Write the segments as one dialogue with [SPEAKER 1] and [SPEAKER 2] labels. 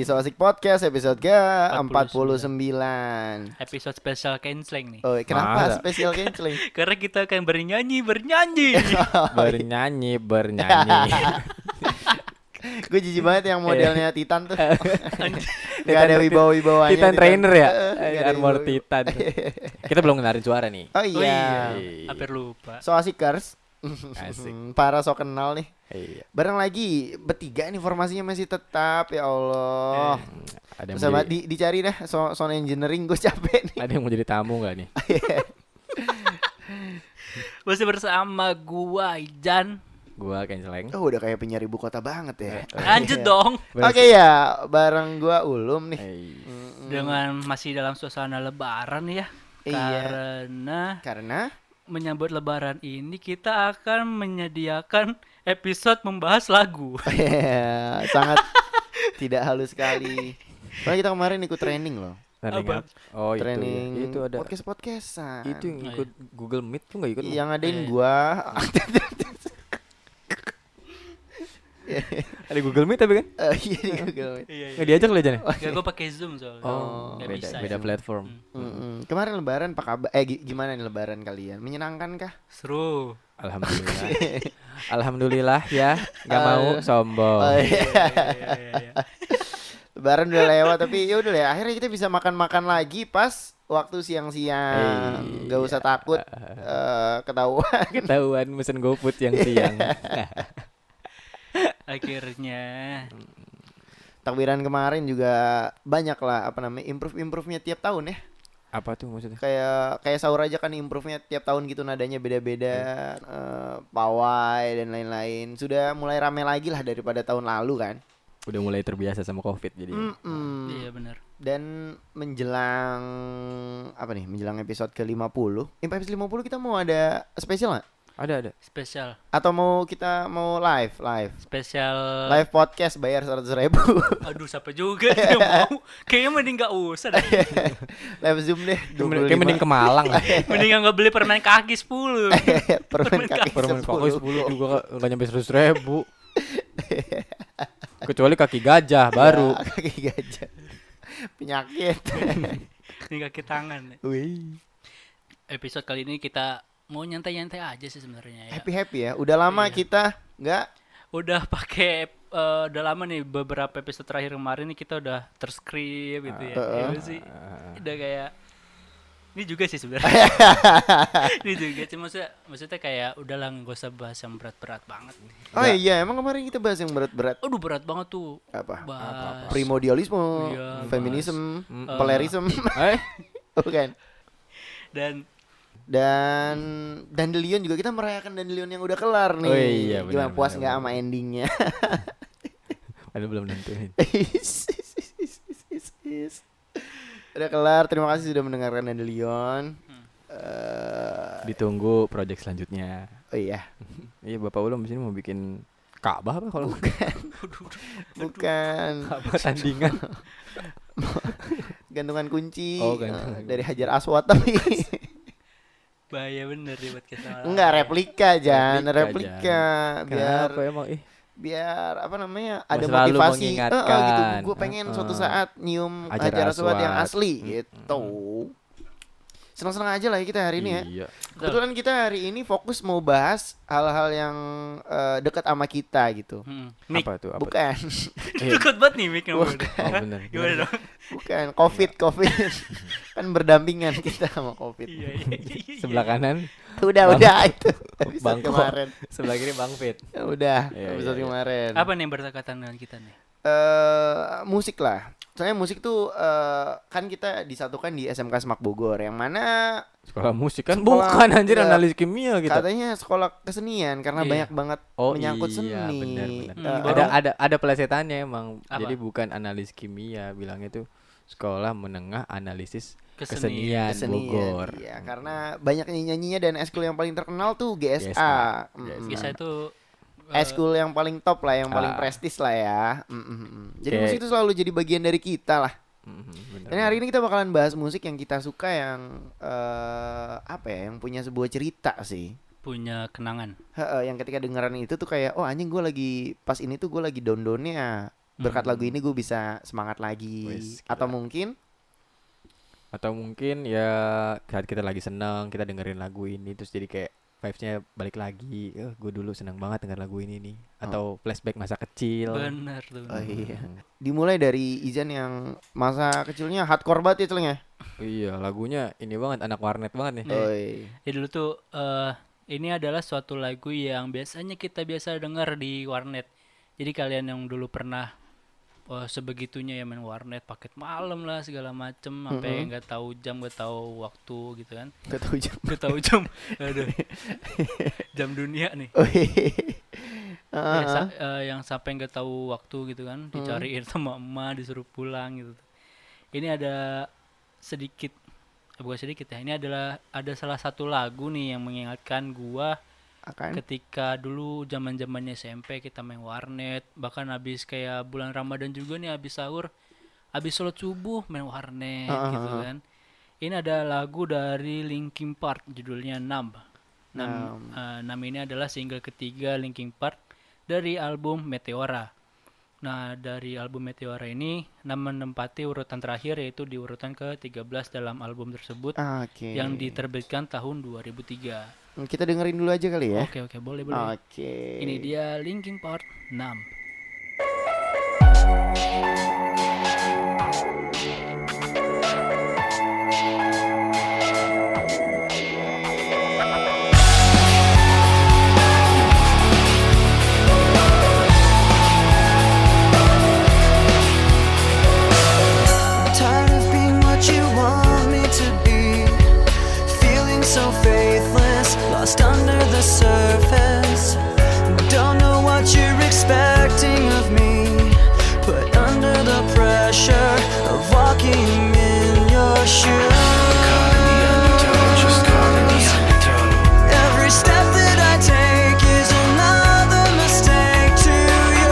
[SPEAKER 1] So Asik Podcast episode ke-49.
[SPEAKER 2] 49. Episode spesial canceling nih.
[SPEAKER 1] Oh, kenapa
[SPEAKER 3] Masa?
[SPEAKER 1] spesial canceling?
[SPEAKER 2] Karena kita akan bernyanyi, bernyanyi.
[SPEAKER 3] Iya.
[SPEAKER 1] Oh, iya.
[SPEAKER 3] bernyanyi bernyanyi
[SPEAKER 1] Gue jijik banget yang modelnya Titan tuh. Gak
[SPEAKER 3] Iya. Titan-
[SPEAKER 1] ada wibawa-wibawanya.
[SPEAKER 3] Titan trainer ya
[SPEAKER 1] Heeh, nggak ada
[SPEAKER 3] armor
[SPEAKER 1] wibawa-wibawa.
[SPEAKER 3] titan kita belum ngenarin suara nih
[SPEAKER 1] Oh
[SPEAKER 2] Oh
[SPEAKER 1] iya.
[SPEAKER 2] iya, hampir lupa.
[SPEAKER 1] So Asikers.
[SPEAKER 3] Asik.
[SPEAKER 1] Para so kenal nih.
[SPEAKER 3] iya
[SPEAKER 1] Bareng lagi bertiga nih formasinya masih tetap ya Allah.
[SPEAKER 3] Eh, ada yang,
[SPEAKER 1] Sama
[SPEAKER 3] mau jadi,
[SPEAKER 1] di, dicari dah sound sound engineering gue capek nih.
[SPEAKER 3] ada yang mau jadi tamu nggak nih
[SPEAKER 2] Masih bersama gua Ijan.
[SPEAKER 3] gua canceleng
[SPEAKER 1] Oh, udah kayak penyiar ibu kota banget ya.
[SPEAKER 3] Eh, Oh, iya.
[SPEAKER 2] Lanjut dong.
[SPEAKER 1] Oke ya, bareng gua Ulum
[SPEAKER 3] Eh.
[SPEAKER 1] nih. Hmm.
[SPEAKER 3] Hmm.
[SPEAKER 2] Dengan masih dalam suasana lebaran ya.
[SPEAKER 1] Iya.
[SPEAKER 2] Karena
[SPEAKER 1] Karena
[SPEAKER 2] menyambut lebaran ini kita akan menyediakan episode membahas lagu.
[SPEAKER 1] sangat tidak halus sekali. Soalnya kita kemarin ikut training loh.
[SPEAKER 3] training
[SPEAKER 2] Apa?
[SPEAKER 3] up. oh itu
[SPEAKER 1] training
[SPEAKER 3] ya. itu ada
[SPEAKER 1] podcast podcastan.
[SPEAKER 2] Oh,
[SPEAKER 3] itu ya. yang ikut
[SPEAKER 2] iya.
[SPEAKER 3] Google Meet tuh nggak ikut lu?
[SPEAKER 1] yang
[SPEAKER 2] Eh.
[SPEAKER 1] ngadain gua.
[SPEAKER 3] ada Google Meet tapi kan
[SPEAKER 1] Eh, iya, di Google Meet.
[SPEAKER 2] Iya,
[SPEAKER 3] nggak diajak lu aja
[SPEAKER 1] Oh.
[SPEAKER 3] nih
[SPEAKER 2] Gak gue pakai Zoom soalnya.
[SPEAKER 3] oh
[SPEAKER 2] Nggak
[SPEAKER 3] beda
[SPEAKER 2] bisa
[SPEAKER 3] beda
[SPEAKER 2] ya.
[SPEAKER 3] platform
[SPEAKER 2] Hmm.
[SPEAKER 1] Mm-mm. Kemarin lebaran apa kabar? Eh gi- gimana nih lebaran kalian? Menyenangkan kah?
[SPEAKER 2] Seru.
[SPEAKER 3] alhamdulillah alhamdulillah ya nggak mau
[SPEAKER 1] Eh. Oh,
[SPEAKER 3] sombong
[SPEAKER 1] iya.
[SPEAKER 2] Iya, iya, iya.
[SPEAKER 1] Lebaran udah lewat tapi ya udah ya akhirnya kita bisa makan-makan lagi pas waktu
[SPEAKER 3] Iya.
[SPEAKER 1] siang-siang. Gak usah takut eh, ketahuan.
[SPEAKER 3] ketahuan mesen GoFood yang Nah, siang
[SPEAKER 2] Akhirnya.
[SPEAKER 3] Hmm.
[SPEAKER 1] Takbiran kemarin juga banyak lah apa namanya improve-improve-nya tiap tahun ya.
[SPEAKER 3] apa tuh maksudnya
[SPEAKER 1] Kayak kayak sahur aja kan improve-nya tiap tahun gitu nadanya beda-beda,
[SPEAKER 2] Iya.
[SPEAKER 1] eh, pawai dan lain-lain. Sudah mulai rame lagi lah daripada tahun lalu kan.
[SPEAKER 3] udah mulai terbiasa sama covid jadi ya.
[SPEAKER 1] Hmm. Mm-mm.
[SPEAKER 2] Iya benar.
[SPEAKER 1] Dan menjelang apa nih? Menjelang episode ke-50. Eh, Episode 50 kita mau ada spesial nggak?
[SPEAKER 3] ada ada
[SPEAKER 2] Spesial.
[SPEAKER 1] Atau mau kita mau live, live.
[SPEAKER 2] Spesial.
[SPEAKER 1] Live podcast bayar 100 ribu
[SPEAKER 2] Aduh siapa juga tuh yang mau. Kayaknya mending gak usah dah.
[SPEAKER 1] Live zoom deh
[SPEAKER 3] kayak mending ke Malang
[SPEAKER 2] Mending gak beli permen kaki
[SPEAKER 1] Permen
[SPEAKER 2] 10. Permen
[SPEAKER 1] kaki
[SPEAKER 3] permen kaki
[SPEAKER 1] 10
[SPEAKER 3] sepuluh juga nggak nyampe seratus ribu kecuali kaki gajah baru
[SPEAKER 1] Ya, Kaki gajah Penyakit
[SPEAKER 2] Ini kaki tangan.
[SPEAKER 1] Wih.
[SPEAKER 2] Episode kali ini kita mau nyantai-nyantai aja sih sebenarnya ya.
[SPEAKER 1] Happy-happy ya Udah lama kita nggak
[SPEAKER 2] Udah pakai eh, udah lama nih beberapa episode terakhir kemarin nih kita udah terskrip gitu ya.
[SPEAKER 1] Ah,
[SPEAKER 2] Iya gak sih. Udah kayak ini juga sih sebenarnya. ini juga cuma maksudnya, maksudnya kayak udahlah nggak usah bahas yang berat-berat banget.
[SPEAKER 1] Oh iya emang kemarin kita bahas yang berat-berat
[SPEAKER 2] Aduh berat banget tuh.
[SPEAKER 1] Apa?
[SPEAKER 2] Bahas
[SPEAKER 1] Primordialisme
[SPEAKER 2] Iya,
[SPEAKER 1] Feminisme Polerisme
[SPEAKER 3] eh
[SPEAKER 1] Bukan
[SPEAKER 2] dan
[SPEAKER 1] Dan Dandelion juga kita merayakan Dandelion yang udah kelar nih
[SPEAKER 3] Oh iya,
[SPEAKER 1] Gimana
[SPEAKER 3] benar,
[SPEAKER 1] puas
[SPEAKER 3] benar,
[SPEAKER 1] nggak
[SPEAKER 3] benar.
[SPEAKER 1] sama endingnya Iya.
[SPEAKER 3] ada belum nentuin
[SPEAKER 1] Udah kelar, terima kasih sudah mendengarkan Dandelion
[SPEAKER 2] Hmm.
[SPEAKER 1] Eh,
[SPEAKER 3] ditunggu project selanjutnya
[SPEAKER 1] Oh iya,
[SPEAKER 3] iya bapak ulum di sini mau bikin Ka'bah apa kalau
[SPEAKER 1] bukan
[SPEAKER 3] Ka'bah tandingan
[SPEAKER 1] gantungan kunci
[SPEAKER 3] Oh, gantungan
[SPEAKER 1] eh, dari Hajar Aswad tapi
[SPEAKER 2] bahaya bener di podcast sama
[SPEAKER 1] enggak replika Jan,
[SPEAKER 3] Replika,
[SPEAKER 1] replika biar
[SPEAKER 3] kenapa emang ih
[SPEAKER 1] biar apa namanya ada
[SPEAKER 3] Selalu
[SPEAKER 1] motivasi Eh, eh, gitu.
[SPEAKER 3] mengingatkan.
[SPEAKER 1] Gue pengen suatu
[SPEAKER 3] Heeh.
[SPEAKER 1] saat nyium
[SPEAKER 3] Hajar
[SPEAKER 1] Hajar Aswad yang
[SPEAKER 3] Aswad.
[SPEAKER 1] asli gitu. Senang-senang aja lah kita hari ini ya.
[SPEAKER 3] iya
[SPEAKER 1] Kebetulan kita hari ini fokus mau bahas hal-hal yang eh, dekat sama kita gitu.
[SPEAKER 2] Hmm. Mik,
[SPEAKER 3] apa tuh apa
[SPEAKER 1] Bukan,
[SPEAKER 3] Iya.
[SPEAKER 2] Takut banget nih mic nomor dua.
[SPEAKER 3] Oh, bener,
[SPEAKER 2] Gimana
[SPEAKER 3] bener.
[SPEAKER 2] dong?
[SPEAKER 1] bukan COVID,
[SPEAKER 3] Iya.
[SPEAKER 1] COVID kan berdampingan kita sama COVID.
[SPEAKER 2] Iya, iya, iya, iya.
[SPEAKER 3] sebelah kanan
[SPEAKER 1] Udah,
[SPEAKER 3] Bang-
[SPEAKER 1] udah itu episode
[SPEAKER 3] Bangkok.
[SPEAKER 1] kemarin.
[SPEAKER 3] sebelah kiri bang fit
[SPEAKER 1] Ya Udah,
[SPEAKER 3] Iya,
[SPEAKER 1] episode
[SPEAKER 3] iya, iya.
[SPEAKER 1] kemarin.
[SPEAKER 2] Apa nih yang berdekatan dengan kita nih?
[SPEAKER 1] Eh, musik lah. Soalnya musik tuh eh, kan kita disatukan di SMK Semak Bogor yang mana
[SPEAKER 3] sekolah musik kan
[SPEAKER 1] Sekolah-
[SPEAKER 3] bukan anjir
[SPEAKER 1] Iya.
[SPEAKER 3] analis kimia kita
[SPEAKER 1] katanya sekolah kesenian karena
[SPEAKER 2] Iya.
[SPEAKER 1] banyak banget
[SPEAKER 3] Gitu? Oh
[SPEAKER 1] menyangkut
[SPEAKER 3] iya,
[SPEAKER 1] seni.
[SPEAKER 3] Benar, benar.
[SPEAKER 2] Hmm,
[SPEAKER 1] Eh,
[SPEAKER 3] ada
[SPEAKER 2] baru-
[SPEAKER 3] ada ada pelesetannya emang.
[SPEAKER 2] Apa?
[SPEAKER 3] Jadi bukan analis kimia, bilangnya tuh sekolah menengah analisis
[SPEAKER 2] Kesenian.
[SPEAKER 3] kesenian, Bogor.
[SPEAKER 1] Iya, karena banyak nyanyinya dan eskul yang paling terkenal tuh GSA.
[SPEAKER 3] GSA.
[SPEAKER 1] Mm-mm.
[SPEAKER 2] Biasa itu eh,
[SPEAKER 1] Eskul yang paling top lah, yang paling
[SPEAKER 3] Ah.
[SPEAKER 1] prestis lah ya. Mm-mm. Jadi
[SPEAKER 3] Oke.
[SPEAKER 1] musik itu selalu jadi bagian dari kita lah.
[SPEAKER 3] Mhm, benar,
[SPEAKER 1] Dan hari ini kita bakalan bahas musik yang kita suka yang eh apa ya, yang punya sebuah cerita sih.
[SPEAKER 2] punya kenangan.
[SPEAKER 1] Heeh, yang ketika dengeran itu tuh kayak oh anjing gue lagi pas ini tuh gue lagi down-downnya berkat lagu ini gue bisa semangat lagi
[SPEAKER 3] Wes,
[SPEAKER 1] atau
[SPEAKER 3] gila.
[SPEAKER 1] mungkin
[SPEAKER 3] atau mungkin ya saat kita lagi seneng kita dengerin lagu ini terus jadi kayak vibesnya balik lagi eh gue dulu seneng banget denger lagu ini nih atau flashback masa kecil
[SPEAKER 2] Bener tuh.
[SPEAKER 1] Oh, iya.
[SPEAKER 3] Hmm.
[SPEAKER 1] dimulai dari Izan yang masa kecilnya hardcore banget ya celengnya
[SPEAKER 3] iya lagunya ini banget anak warnet banget nih
[SPEAKER 1] Oi.
[SPEAKER 2] Ya dulu tuh eh ini adalah suatu lagu yang biasanya kita biasa dengar di warnet. Jadi kalian yang dulu pernah eh, sebegitunya ya main warnet paket malam lah segala macem sampai nggak tahu jam nggak tahu waktu gitu kan
[SPEAKER 1] Gak tau jam.
[SPEAKER 2] nggak tahu jam aduh jam dunia nih
[SPEAKER 1] Oi.
[SPEAKER 2] Ya,
[SPEAKER 1] Heeh.
[SPEAKER 2] sa- eh, yang sampai nggak tahu waktu gitu kan dicariin sama emak disuruh pulang gitu ini ada sedikit eh, bukan sedikit ya ini adalah ada salah satu lagu nih yang mengingatkan gua
[SPEAKER 1] Akan.
[SPEAKER 2] ketika dulu zaman zamannya SMP kita main warnet bahkan habis kayak bulan Ramadan juga nih habis sahur habis sholat subuh main warnet gitu kan ini ada lagu dari Linkin Park judulnya Numb Numb,
[SPEAKER 1] Hmm.
[SPEAKER 2] eh, Numb ini adalah single ketiga Linkin Park dari album Meteora nah dari album Meteora ini Numb menempati urutan terakhir yaitu di urutan ke-13 dalam album tersebut
[SPEAKER 1] Oke.
[SPEAKER 2] yang diterbitkan tahun 2003
[SPEAKER 1] Kita dengerin dulu aja kali ya.
[SPEAKER 2] Oke oke boleh Oh, boleh.
[SPEAKER 1] Oke.
[SPEAKER 2] Ini dia Linkin Park 6.
[SPEAKER 4] Tired of being what you want me to be. Feeling so faithless, lost under the surface. Don't know what you're expecting of me. Put under the pressure of walking in your shoes. Every step that I take is another mistake to you.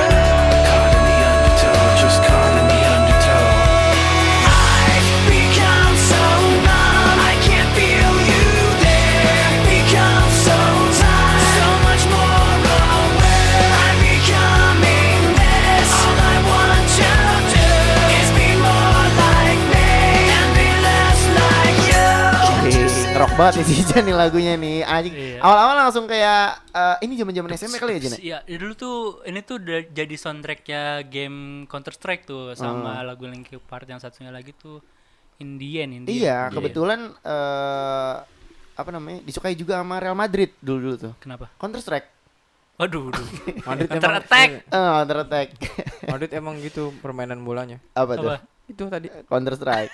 [SPEAKER 4] I've become so numb, I can't feel you there. Become so tired, so much more aware. I'm becoming this. All I want to do is be more like me and be less like you.
[SPEAKER 1] Oke, rock banget nih si Ijan nih lagunya nih. Anjing.
[SPEAKER 2] Iya.
[SPEAKER 1] Awal-awal langsung kayak eh, ini zaman-zaman SMP kali ya, Jan. ya?
[SPEAKER 2] Iya ya, dulu tuh ini tuh udah jadi soundtracknya game Counter Strike tuh
[SPEAKER 1] Oh.
[SPEAKER 2] sama lagu Linkin Park yang satunya lagi tuh Indian Indian.
[SPEAKER 1] Iya, kebetulan eh apa namanya? Disukai juga sama Real Madrid dulu-dulu tuh.
[SPEAKER 2] Kenapa?
[SPEAKER 1] Counter Strike.
[SPEAKER 2] Waduh, waduh.
[SPEAKER 3] Madrid
[SPEAKER 2] Counter attack.
[SPEAKER 1] Eh, Counter Attack.
[SPEAKER 3] Madrid emang gitu permainan bolanya
[SPEAKER 1] apa tuh?
[SPEAKER 2] Apa?
[SPEAKER 3] itu tadi
[SPEAKER 1] Counter Strike.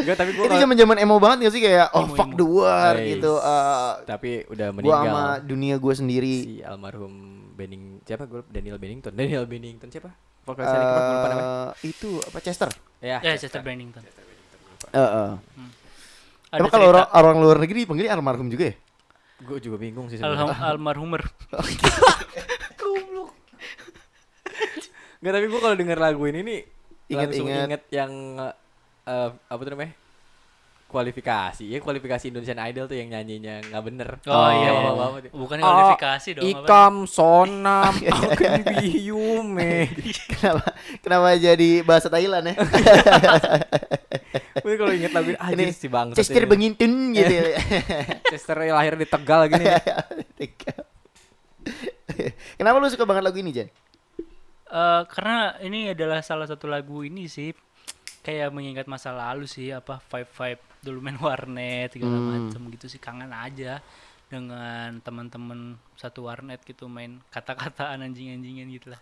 [SPEAKER 3] enggak tapi gue
[SPEAKER 1] Itu zaman-zaman emo banget gak sih kayak oh
[SPEAKER 2] Emo,
[SPEAKER 1] fuck
[SPEAKER 2] emo.
[SPEAKER 1] the war
[SPEAKER 3] Nice.
[SPEAKER 1] gitu. Eh
[SPEAKER 3] tapi udah
[SPEAKER 1] gua sama
[SPEAKER 3] meninggal
[SPEAKER 1] dunia gua sendiri.
[SPEAKER 3] si almarhum Benning siapa gue Daniel Bennington Daniel Bennington siapa
[SPEAKER 1] Eh,
[SPEAKER 3] vokalis Linkin Park, gua lupa namanya.
[SPEAKER 1] itu apa Chester?
[SPEAKER 3] ya
[SPEAKER 2] Ya Chester Bennington.
[SPEAKER 1] Heeh.
[SPEAKER 2] Ada
[SPEAKER 1] Emang kalau
[SPEAKER 2] cerita
[SPEAKER 1] orang, orang luar negeri panggilnya almarhum juga ya?
[SPEAKER 3] gue juga bingung sih
[SPEAKER 2] alham-
[SPEAKER 3] sebenarnya
[SPEAKER 2] almarhumer.
[SPEAKER 3] Enggak tapi gue kalau denger lagu ini nih langsung
[SPEAKER 1] Ingat-ingat.
[SPEAKER 3] inget yang eh, apa tuh namanya kualifikasi ya kualifikasi Indonesian Idol tuh yang nyanyinya nggak bener
[SPEAKER 2] Oh, iya. iya.
[SPEAKER 3] Yang
[SPEAKER 2] Oh,
[SPEAKER 3] bawa-bawa tuh.
[SPEAKER 2] Bukan
[SPEAKER 3] Ah,
[SPEAKER 2] kualifikasi dong. apa?
[SPEAKER 3] ikam sonam akribiume
[SPEAKER 1] kenapa kenapa jadi bahasa Thailand ya?
[SPEAKER 3] gue kalau inget lagu ini anjir si bang
[SPEAKER 1] Chester Bengintun gitu. ya.
[SPEAKER 3] Chester yang lahir di Tegal gini
[SPEAKER 1] kenapa lu suka banget lagu ini, Jan?
[SPEAKER 2] Eh, karena ini adalah salah satu lagu ini sih kayak mengingat masa lalu sih apa vibe vibe dulu main warnet segala macem gitu sih kangen aja dengan teman-teman satu warnet gitu main kata-kataan anjing-anjingan gitu lah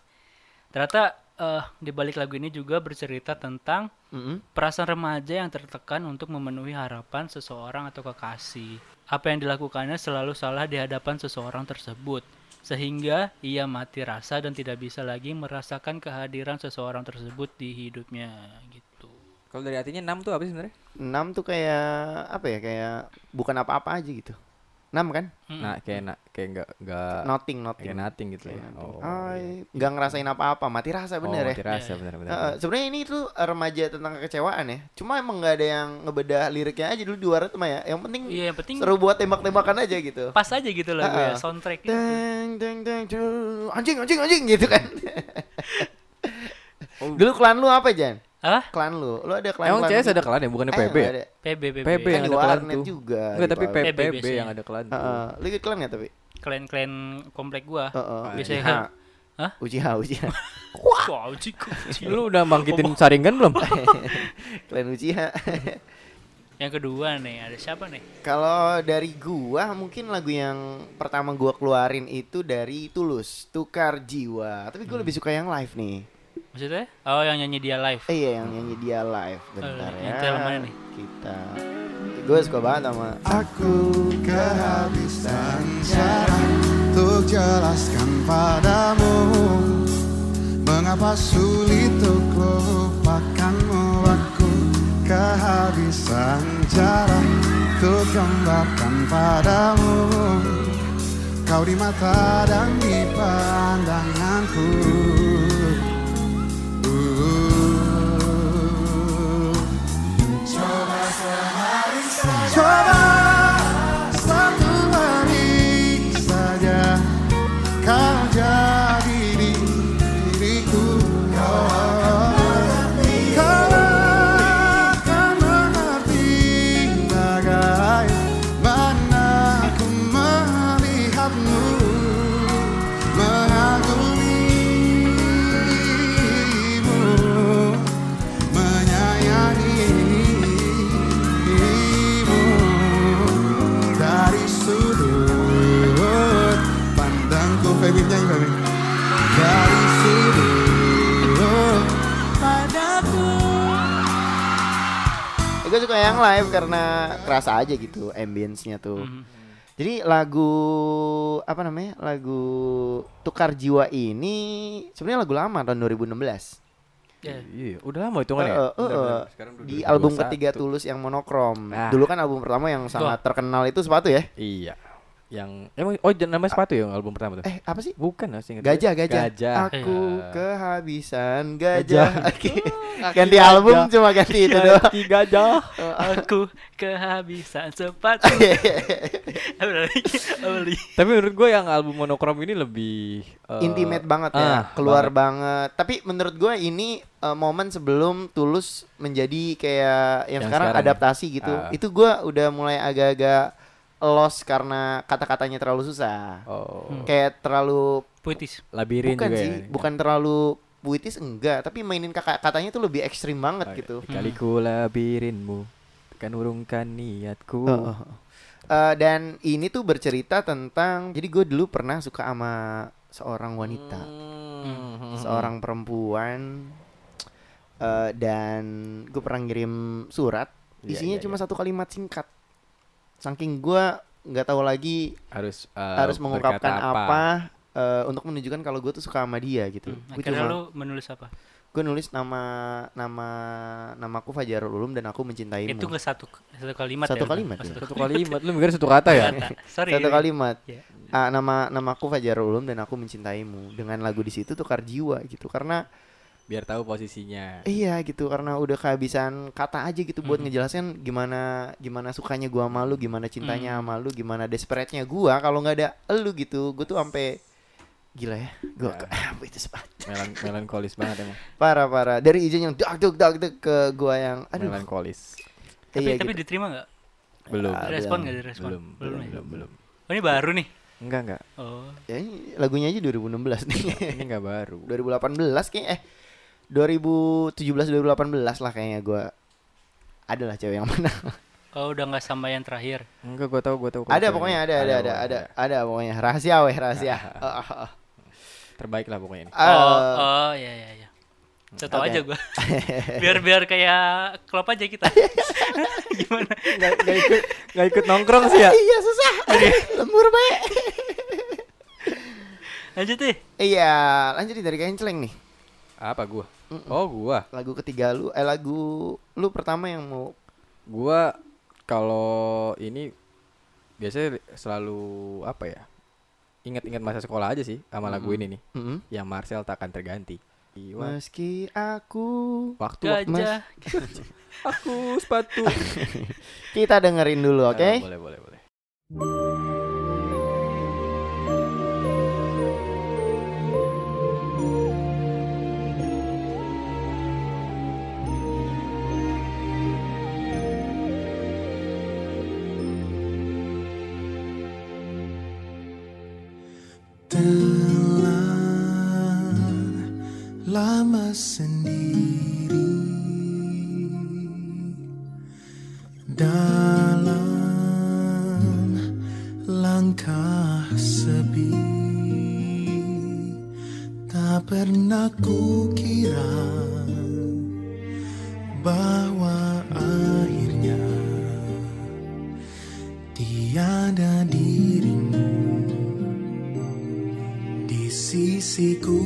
[SPEAKER 2] ternyata eh di balik lagu ini juga bercerita tentang
[SPEAKER 1] Mm-mm.
[SPEAKER 2] perasaan remaja yang tertekan untuk memenuhi harapan seseorang atau kekasih. Apa yang dilakukannya selalu salah di hadapan seseorang tersebut, sehingga ia mati rasa dan tidak bisa lagi merasakan kehadiran seseorang tersebut di hidupnya gitu.
[SPEAKER 3] kalau dari hatinya 6 tuh apa sih sebenarnya
[SPEAKER 1] Enam tuh kayak apa ya? Kayak bukan apa-apa aja gitu. Enam kan?
[SPEAKER 3] Nah, kayak enak, kayak enggak enggak
[SPEAKER 1] Nothing,
[SPEAKER 3] kayak
[SPEAKER 1] nothing.
[SPEAKER 3] nothing gitu ya.
[SPEAKER 1] Kayak nothing.
[SPEAKER 3] Oh.
[SPEAKER 1] Ay, nggak ngerasain apa-apa, mati rasa Ah, iya. bener ya.
[SPEAKER 3] Terasa
[SPEAKER 2] Iya, iya.
[SPEAKER 3] bener-bener.
[SPEAKER 1] Heeh, sebenarnya ini tuh remaja tentang kekecewaan ya. Cuma emang nggak ada yang ngebedah liriknya aja dulu di warnet mah ya. Yang penting
[SPEAKER 2] Iya, yang penting
[SPEAKER 1] seru buat tembak-tembakan aja gitu.
[SPEAKER 2] pas aja gitu lagu ya,
[SPEAKER 1] Heeh.
[SPEAKER 2] soundtrack
[SPEAKER 1] Deng deng deng deng. anjing anjing anjing gitu kan.
[SPEAKER 2] Oh.
[SPEAKER 1] dulu klan lu apa Jan?
[SPEAKER 2] Apa?
[SPEAKER 1] Klan lu, lu ada gitu? Eh, klan
[SPEAKER 3] Emang CS ada kelan ya, bukannya PB ya?
[SPEAKER 2] PB PB.
[SPEAKER 1] Kan
[SPEAKER 3] PB yang
[SPEAKER 1] di
[SPEAKER 3] ada kelan
[SPEAKER 1] warnet
[SPEAKER 3] tuh.
[SPEAKER 1] juga, gitu.
[SPEAKER 3] Enggak,
[SPEAKER 1] di
[SPEAKER 3] tapi
[SPEAKER 1] warnet.
[SPEAKER 2] PB
[SPEAKER 3] PB yang
[SPEAKER 2] biasanya.
[SPEAKER 3] ada kelan tuh.
[SPEAKER 1] Heeh, lu ikut klan nggak tapi?
[SPEAKER 2] Klan-klan komplek gua.
[SPEAKER 1] Heeh.
[SPEAKER 2] Biasanya
[SPEAKER 1] Ujiha.
[SPEAKER 2] kan. Hah?
[SPEAKER 1] Ujiha, Ujiha.
[SPEAKER 2] Wah, uji kecil.
[SPEAKER 3] Lu udah bangkitin saringan belum?
[SPEAKER 1] Klan Ujiha.
[SPEAKER 2] Yang kedua nih, ada siapa nih?
[SPEAKER 1] Kalau dari gua mungkin lagu yang pertama gua keluarin itu dari Tulus, Tukar Jiwa. Tapi
[SPEAKER 2] Hmm.
[SPEAKER 1] gua lebih suka yang live nih.
[SPEAKER 2] Maksudnya? Oh, yang nyanyi dia live.
[SPEAKER 1] Eh iya yang nyanyi dia live bentar ya.
[SPEAKER 2] Eh, yang itu yang mana nih?
[SPEAKER 1] Kita. Gue suka banget sama
[SPEAKER 5] Aku kehabisan cara Untuk jelaskan padamu Mengapa sulit untuk lupakanmu Aku kehabisan cara Untuk gambarkan padamu Kau di mata dan di pandanganku Uh. Coba sehari saja Coba satu hari saja Kau jadi diriku Kau akan mengerti Bagaimana aku melihatmu Mengagumimu menyayangimu dari sudut pandangku Feby nyanyi Feby dari sudut padaku
[SPEAKER 1] Eh, gue suka yang live karena kerasa aja gitu ambience-nya tuh.
[SPEAKER 2] Mhm.
[SPEAKER 3] Hmm.
[SPEAKER 1] Jadi lagu apa namanya? Lagu Tukar Jiwa ini sebenarnya lagu lama tahun 2016.
[SPEAKER 2] Ya.
[SPEAKER 3] Iya, udah lama hitungan ya.
[SPEAKER 1] Eh, eh,
[SPEAKER 3] Bentar,
[SPEAKER 1] eh,
[SPEAKER 3] bentar.
[SPEAKER 1] eh.
[SPEAKER 3] Sekarang udah
[SPEAKER 1] di
[SPEAKER 3] 2021.
[SPEAKER 1] album ketiga Tulus yang monokrom.
[SPEAKER 3] Nah.
[SPEAKER 1] Dulu kan album pertama yang sangat terkenal itu sepatu ya?
[SPEAKER 3] Iya. Yang emang oh j- namanya sepatu ya album pertama tuh.
[SPEAKER 1] Eh, apa sih?
[SPEAKER 3] Bukan lah singkat.
[SPEAKER 1] Gajah, gajah. Ah,
[SPEAKER 3] Gajah.
[SPEAKER 1] Aku
[SPEAKER 3] Eh,
[SPEAKER 1] kehabisan
[SPEAKER 3] Gajah.
[SPEAKER 1] gajah. Oke. ganti album
[SPEAKER 3] gajah.
[SPEAKER 1] cuma ganti itu gitu doang.
[SPEAKER 3] Kaki Iya, gajah.
[SPEAKER 2] Oh, Aku
[SPEAKER 1] Ah,
[SPEAKER 2] kehabisan sepatu.
[SPEAKER 1] iya.
[SPEAKER 2] Apa lagi? Apa lagi?
[SPEAKER 3] Tapi menurut gue yang album monokrom ini lebih eh,
[SPEAKER 1] Intimate banget
[SPEAKER 3] ah,
[SPEAKER 1] ya, keluar banget. Tapi menurut gue ini eh, momen sebelum Tulus menjadi kayak yang,
[SPEAKER 3] Yang
[SPEAKER 1] sekarang,
[SPEAKER 3] sekarang ya?
[SPEAKER 1] adaptasi gitu.
[SPEAKER 3] Ah.
[SPEAKER 1] Itu gue udah mulai agak-agak lost karena kata-katanya terlalu susah.
[SPEAKER 3] Oh,
[SPEAKER 1] Kayak terlalu
[SPEAKER 2] Puitis.
[SPEAKER 3] labirin
[SPEAKER 1] Hmm. bukan
[SPEAKER 3] juga
[SPEAKER 1] sih,
[SPEAKER 3] ya.
[SPEAKER 1] bukan terlalu puitis enggak, tapi mainin kakak katanya tuh lebih ekstrim
[SPEAKER 3] Oh,
[SPEAKER 1] banget
[SPEAKER 3] iya.
[SPEAKER 1] gitu.
[SPEAKER 3] Kali ku labirinmu kan urungkan niatku.
[SPEAKER 1] Heeh. Eh, dan ini tuh bercerita tentang jadi gue dulu pernah suka sama seorang wanita.
[SPEAKER 3] Hmm.
[SPEAKER 1] seorang perempuan eh, dan gue pernah ngirim surat
[SPEAKER 3] Iya,
[SPEAKER 1] isinya
[SPEAKER 3] iya,
[SPEAKER 1] cuma
[SPEAKER 3] iya.
[SPEAKER 1] satu kalimat singkat saking gue nggak tahu lagi
[SPEAKER 3] harus eh,
[SPEAKER 1] harus
[SPEAKER 3] berkata
[SPEAKER 1] mengungkapkan apa, eh, untuk menunjukkan kalau gue tuh suka sama dia gitu gue
[SPEAKER 2] Hmm, Akhirnya
[SPEAKER 1] cuma
[SPEAKER 2] lu menulis apa?
[SPEAKER 1] gue nulis nama nama namaku Fajarul Ulum dan aku mencintaimu
[SPEAKER 2] Itu nggak satu satu kalimat
[SPEAKER 1] Satu
[SPEAKER 2] ya?
[SPEAKER 1] kalimat
[SPEAKER 2] Oh,
[SPEAKER 1] ya.
[SPEAKER 2] satu
[SPEAKER 3] Satu kalimat lu mikir satu kata ya?
[SPEAKER 2] kata. Sorry.
[SPEAKER 1] satu kalimat
[SPEAKER 2] Iya.
[SPEAKER 1] Ah, nama namaku Fajarul Ulum dan aku mencintaimu dengan lagu di situ tukar jiwa gitu karena
[SPEAKER 3] Biar tahu posisinya.
[SPEAKER 1] Iya gitu karena udah kehabisan kata aja gitu buat
[SPEAKER 2] Hmm.
[SPEAKER 1] ngejelasin gimana gimana sukanya gua sama lu, gimana cintanya
[SPEAKER 2] Hmm.
[SPEAKER 1] sama lu, gimana desperate-nya gua kalau nggak ada elu gitu. Gua tuh sampai gila ya. Gua apa itu sepatu.
[SPEAKER 3] Melan melankolis banget emang.
[SPEAKER 1] Parah-parah. Dari izin yang dak dak dak dak ke gua yang aduh.
[SPEAKER 3] Melankolis.
[SPEAKER 1] iya
[SPEAKER 2] Tapi,
[SPEAKER 1] gitu.
[SPEAKER 2] tapi
[SPEAKER 1] Ah,
[SPEAKER 2] diterima nggak?
[SPEAKER 3] Belum.
[SPEAKER 2] Direspon nggak direspon?
[SPEAKER 3] Belum, belum,
[SPEAKER 2] ya?
[SPEAKER 3] belum, belum.
[SPEAKER 2] Oh, ini baru nih.
[SPEAKER 3] Enggak, enggak.
[SPEAKER 2] Oh.
[SPEAKER 1] Ya, ini lagunya aja 2016 nih.
[SPEAKER 3] Ini enggak baru.
[SPEAKER 1] 2018 kayak eh 2017 2018 lah kayaknya gua adalah cewek yang mana.
[SPEAKER 2] Oh, udah nggak sama yang terakhir.
[SPEAKER 3] Enggak, gua tahu, gua tahu.
[SPEAKER 1] ada pokoknya ada ada ada
[SPEAKER 3] pokoknya,
[SPEAKER 1] ada ada pokoknya rahasia weh rahasia. Oh, oh, oh.
[SPEAKER 3] Terbaik lah pokoknya ini.
[SPEAKER 2] Oh,
[SPEAKER 1] Eh,
[SPEAKER 2] oh ya ya ya. Saya tahu
[SPEAKER 1] Oke.
[SPEAKER 2] aja gua. biar biar kayak klop aja kita. Gimana?
[SPEAKER 3] Enggak ikut enggak ikut nongkrong sih ya.
[SPEAKER 1] Eh, Iya susah. Lembur baik.
[SPEAKER 2] Lanjut deh.
[SPEAKER 1] Iya, lanjutin dari Kenceleng nih.
[SPEAKER 3] Apa gua? Oh, gua.
[SPEAKER 1] Lagu ketiga lu eh lagu lu pertama yang mau
[SPEAKER 3] Gua kalau ini biasanya selalu apa ya? Ingat-ingat masa sekolah aja sih sama lagu ini nih.
[SPEAKER 1] Mm-mm.
[SPEAKER 3] Yang Marcel takkan terganti. Iwan.
[SPEAKER 1] Meski aku
[SPEAKER 3] Waktu
[SPEAKER 2] Gajah.
[SPEAKER 3] aku sepatu.
[SPEAKER 1] kita dengerin dulu, oke?
[SPEAKER 3] Eh, Boleh, boleh, boleh.
[SPEAKER 5] Telah lama sendiri dalam langkah sepi tak pernah kukira bahwa akhirnya tiada dirimu di sisiku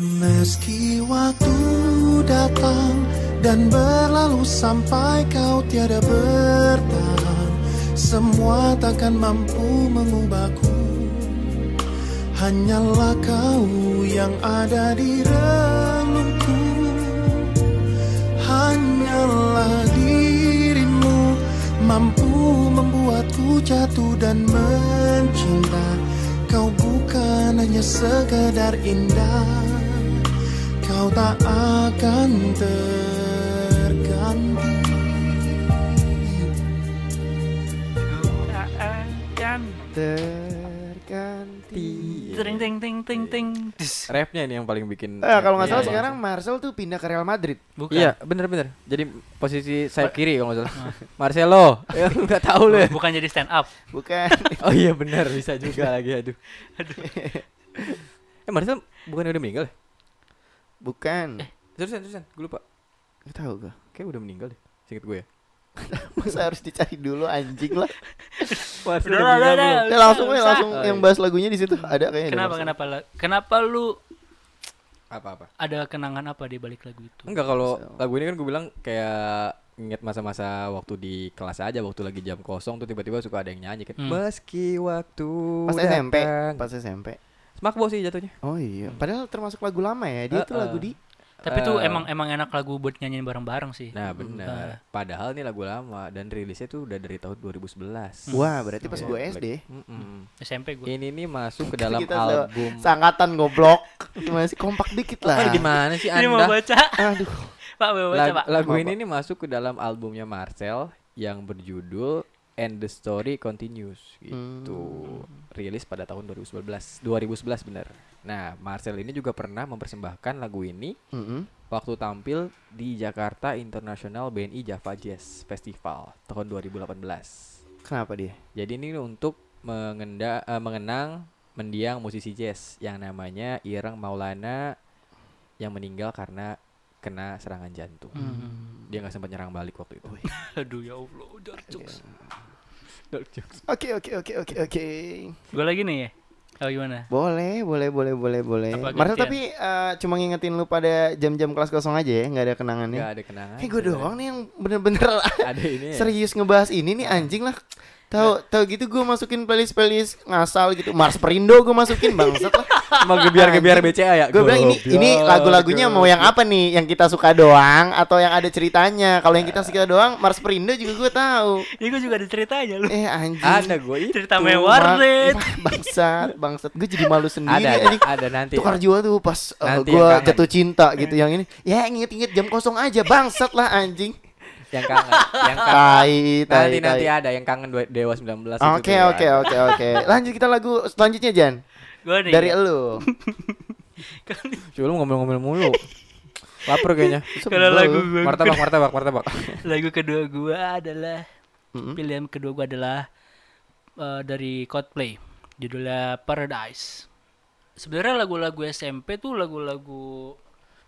[SPEAKER 5] Meski waktu datang dan berlalu sampai kau tiada bertahan Semua takkan mampu mengubahku Hanyalah kau yang ada di relungku Hanyalah dirimu mampu membuatku jatuh dan mencinta Kau bukan hanya sekedar indah Kau tak akan terganti
[SPEAKER 2] Kan.
[SPEAKER 1] Terganti.
[SPEAKER 2] Ting
[SPEAKER 1] iya.
[SPEAKER 2] ting ting ting ting. Tis.
[SPEAKER 3] Rapnya ini yang paling bikin.
[SPEAKER 1] Eh, kalau nggak
[SPEAKER 3] Iya,
[SPEAKER 1] salah
[SPEAKER 3] iya.
[SPEAKER 1] sekarang Marcel tuh pindah ke Real Madrid.
[SPEAKER 2] Bukan.
[SPEAKER 3] Iya, bener-bener. Jadi posisi sayap kiri kalau nggak salah.
[SPEAKER 1] Ah.
[SPEAKER 3] Marcelo, ya, nggak tahu lu. ya.
[SPEAKER 2] Bukan jadi stand up.
[SPEAKER 1] Bukan.
[SPEAKER 3] Oh iya benar, bisa juga lagi. Aduh. Eh Marcelo bukan udah meninggal? ya?
[SPEAKER 1] Bukan.
[SPEAKER 3] Terusan, terusan. Gue lupa.
[SPEAKER 1] Nggak tahu gua.
[SPEAKER 3] Kayak udah meninggal deh. Singkat gue ya.
[SPEAKER 1] Masa harus dicari dulu anjing lah.
[SPEAKER 3] Marcelo
[SPEAKER 2] Udah, udah, udah, udah.
[SPEAKER 1] Ya, langsung ya langsung
[SPEAKER 3] usah.
[SPEAKER 1] yang bahas lagunya di situ ada kayaknya. ada
[SPEAKER 2] Kenapa
[SPEAKER 1] Marcel.
[SPEAKER 2] kenapa lah? Kenapa lu
[SPEAKER 3] Apa-apa.
[SPEAKER 2] ada kenangan apa di balik lagu itu?
[SPEAKER 3] Enggak kalau lagu ini kan gue bilang kayak inget masa-masa waktu di kelas aja waktu lagi jam kosong tuh tiba-tiba suka ada yang nyanyi kan.
[SPEAKER 2] Hmm.
[SPEAKER 3] Meski waktu
[SPEAKER 1] Pas SMP,
[SPEAKER 3] datang.
[SPEAKER 1] pas SMP.
[SPEAKER 3] Smakbo sih jatuhnya.
[SPEAKER 1] Oh iya, padahal termasuk lagu lama ya. Dia itu
[SPEAKER 3] Eh,
[SPEAKER 1] lagu
[SPEAKER 3] eh.
[SPEAKER 1] di
[SPEAKER 2] Tapi tuh
[SPEAKER 3] Eh.
[SPEAKER 2] emang emang enak lagu buat nyanyiin bareng-bareng sih.
[SPEAKER 3] Nah, benar. Padahal ini lagu lama dan rilisnya tuh udah dari tahun 2011.
[SPEAKER 1] Wah, berarti pas
[SPEAKER 3] Iya,
[SPEAKER 1] gue
[SPEAKER 3] Black-
[SPEAKER 1] SD.
[SPEAKER 3] Mm-mm.
[SPEAKER 1] Iya.
[SPEAKER 2] SMP gue.
[SPEAKER 3] Ini nih masuk ke dalam
[SPEAKER 1] Kan Kita se-
[SPEAKER 3] album.
[SPEAKER 1] seangkatan goblok. Masih kompak dikit lah.
[SPEAKER 3] Apa gimana sih
[SPEAKER 2] Ini mau
[SPEAKER 3] Anda?
[SPEAKER 2] baca.
[SPEAKER 1] Aduh.
[SPEAKER 2] Pak mau baca,
[SPEAKER 3] Ah. Lag-
[SPEAKER 2] Pak.
[SPEAKER 3] lagu
[SPEAKER 1] Apa,
[SPEAKER 3] ini nih masuk ke dalam albumnya Marcel yang berjudul And the Story Continues gitu. Rilis pada tahun 2011. 2011 bener. Nah, Marcel ini juga pernah mempersembahkan lagu ini
[SPEAKER 1] Mm-mm.
[SPEAKER 3] waktu tampil di Jakarta International BNI Java Jazz Festival tahun 2018.
[SPEAKER 1] Kenapa dia?
[SPEAKER 3] Jadi ini untuk mengenda, eh, mengenang mendiang musisi jazz yang namanya Ireng Maulana yang meninggal karena kena serangan jantung.
[SPEAKER 1] Hmm.
[SPEAKER 3] Dia nggak sempat nyerang balik waktu itu.
[SPEAKER 2] Aduh ya Allah, dark
[SPEAKER 1] Iya.
[SPEAKER 2] jokes.
[SPEAKER 1] Oke, oke, oke, oke, oke.
[SPEAKER 2] Gue lagi nih ya. Oh gimana?
[SPEAKER 1] Boleh, boleh, boleh, boleh, boleh.
[SPEAKER 2] Apa
[SPEAKER 1] Marcel
[SPEAKER 2] gantian?
[SPEAKER 1] tapi eh, cuma ngingetin lu pada jam-jam kelas kosong aja ya, nggak ada kenangannya.
[SPEAKER 3] Nggak ada kenangan. Iya.
[SPEAKER 1] Kayak gue doang nih yang bener-bener
[SPEAKER 3] Ada ini. ya.
[SPEAKER 1] serius ngebahas ini nih anjing lah. Tahu tahu gitu gue masukin playlist playlist ngasal gitu. Mars Perindo gue masukin bangsat lah.
[SPEAKER 3] Mau gebiar-gebiar BCA ya.
[SPEAKER 1] Gue bilang ini ini lagu-lagunya mau yang apa nih? Yang kita suka doang atau yang ada ceritanya? Kalau yang kita suka doang, Mars Perindo juga gue tahu.
[SPEAKER 2] Ini gue juga ada ceritanya lu.
[SPEAKER 1] Eh anjing.
[SPEAKER 3] Ada gue itu.
[SPEAKER 1] Tuh,
[SPEAKER 2] Cerita mewarnet.
[SPEAKER 1] ma- bangsat, bangsat. Gue jadi malu sendiri
[SPEAKER 3] Ada,
[SPEAKER 1] anjing.
[SPEAKER 3] ada nanti.
[SPEAKER 1] Tukar jiwa tuh pas uh,
[SPEAKER 3] Nanti
[SPEAKER 1] gue
[SPEAKER 3] yang kangen. Hmm.
[SPEAKER 1] jatuh cinta gitu yang ini. Ya inget-inget jam kosong aja bangsat lah anjing.
[SPEAKER 3] Yang kangen, yang kangen.
[SPEAKER 1] Tai, tai,
[SPEAKER 3] Nanti nanti
[SPEAKER 1] tai.
[SPEAKER 3] ada yang kangen dua- Dewa 19 itu
[SPEAKER 1] Oke
[SPEAKER 3] tuh, ya.
[SPEAKER 1] oke
[SPEAKER 3] ada.
[SPEAKER 1] oke oke. Lanjut kita lagu selanjutnya Jan.
[SPEAKER 2] Gue nih.
[SPEAKER 1] Dari elu.
[SPEAKER 3] Cuma lu ngomel-ngomel mulu. Lapar kayaknya.
[SPEAKER 2] Kalau lagu gue
[SPEAKER 3] Martabak, martabak, martabak.
[SPEAKER 2] lagu kedua gue adalah
[SPEAKER 1] Mm-mm.
[SPEAKER 2] pilihan kedua gue adalah eh, dari Coldplay judulnya Paradise sebenarnya lagu-lagu SMP tuh lagu-lagu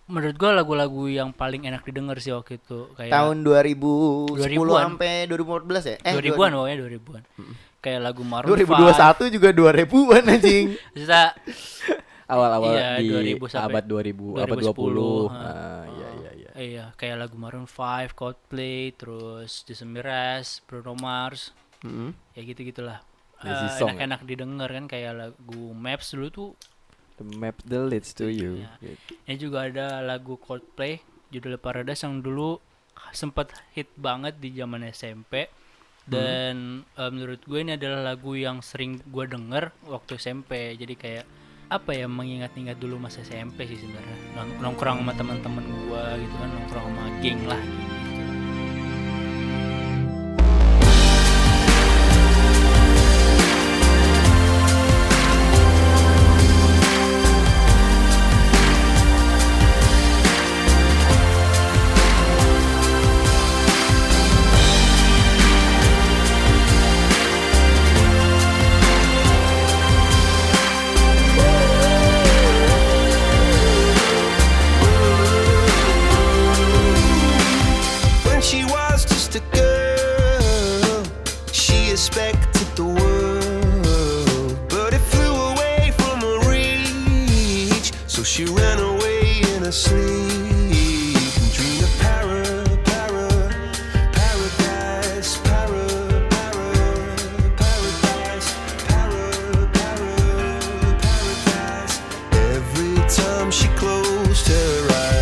[SPEAKER 2] menurut gue lagu-lagu yang paling enak didengar sih waktu itu kayak
[SPEAKER 3] Iya.
[SPEAKER 1] tahun 2010
[SPEAKER 2] 2000-an.
[SPEAKER 1] sampai 2014 ya?
[SPEAKER 3] Eh,
[SPEAKER 2] 2000-an pokoknya 2000-an kayak lagu Maroon 5
[SPEAKER 1] 2021 juga 2000-an anjing.
[SPEAKER 2] Sisa-
[SPEAKER 3] Awal-awal
[SPEAKER 2] Iya,
[SPEAKER 3] di
[SPEAKER 2] 2000 sampai
[SPEAKER 3] abad 2000, abad
[SPEAKER 2] 2010, ha.
[SPEAKER 3] 20. Ah, iya iya iya.
[SPEAKER 2] eh, iya kayak lagu Maroon 5, Coldplay, terus Jason Mraz, Bruno Mars,
[SPEAKER 1] Mm-mm.
[SPEAKER 2] ya gitu gitulah.
[SPEAKER 3] Lazy
[SPEAKER 2] Eh,
[SPEAKER 3] song ya?
[SPEAKER 2] enak-enak didengar kan kayak lagu Maps dulu tuh.
[SPEAKER 3] The map the leads to you. Gitu.
[SPEAKER 2] Iya. Ini juga ada lagu Coldplay judulnya Paradise yang dulu sempat hit banget di zaman SMP dan eh, menurut gue ini adalah lagu yang sering gue denger waktu SMP jadi kayak apa ya mengingat-ingat dulu masa SMP sih sebenarnya Nong- nongkrong sama teman-teman gue gitu kan nongkrong sama geng lah
[SPEAKER 4] When she was just a girl, she expected the world. But it flew away from her reach, so she ran away in her sleep. And dreamed of para, para, paradise, para, para, paradise, para, para, paradise. Every time she closed her eyes.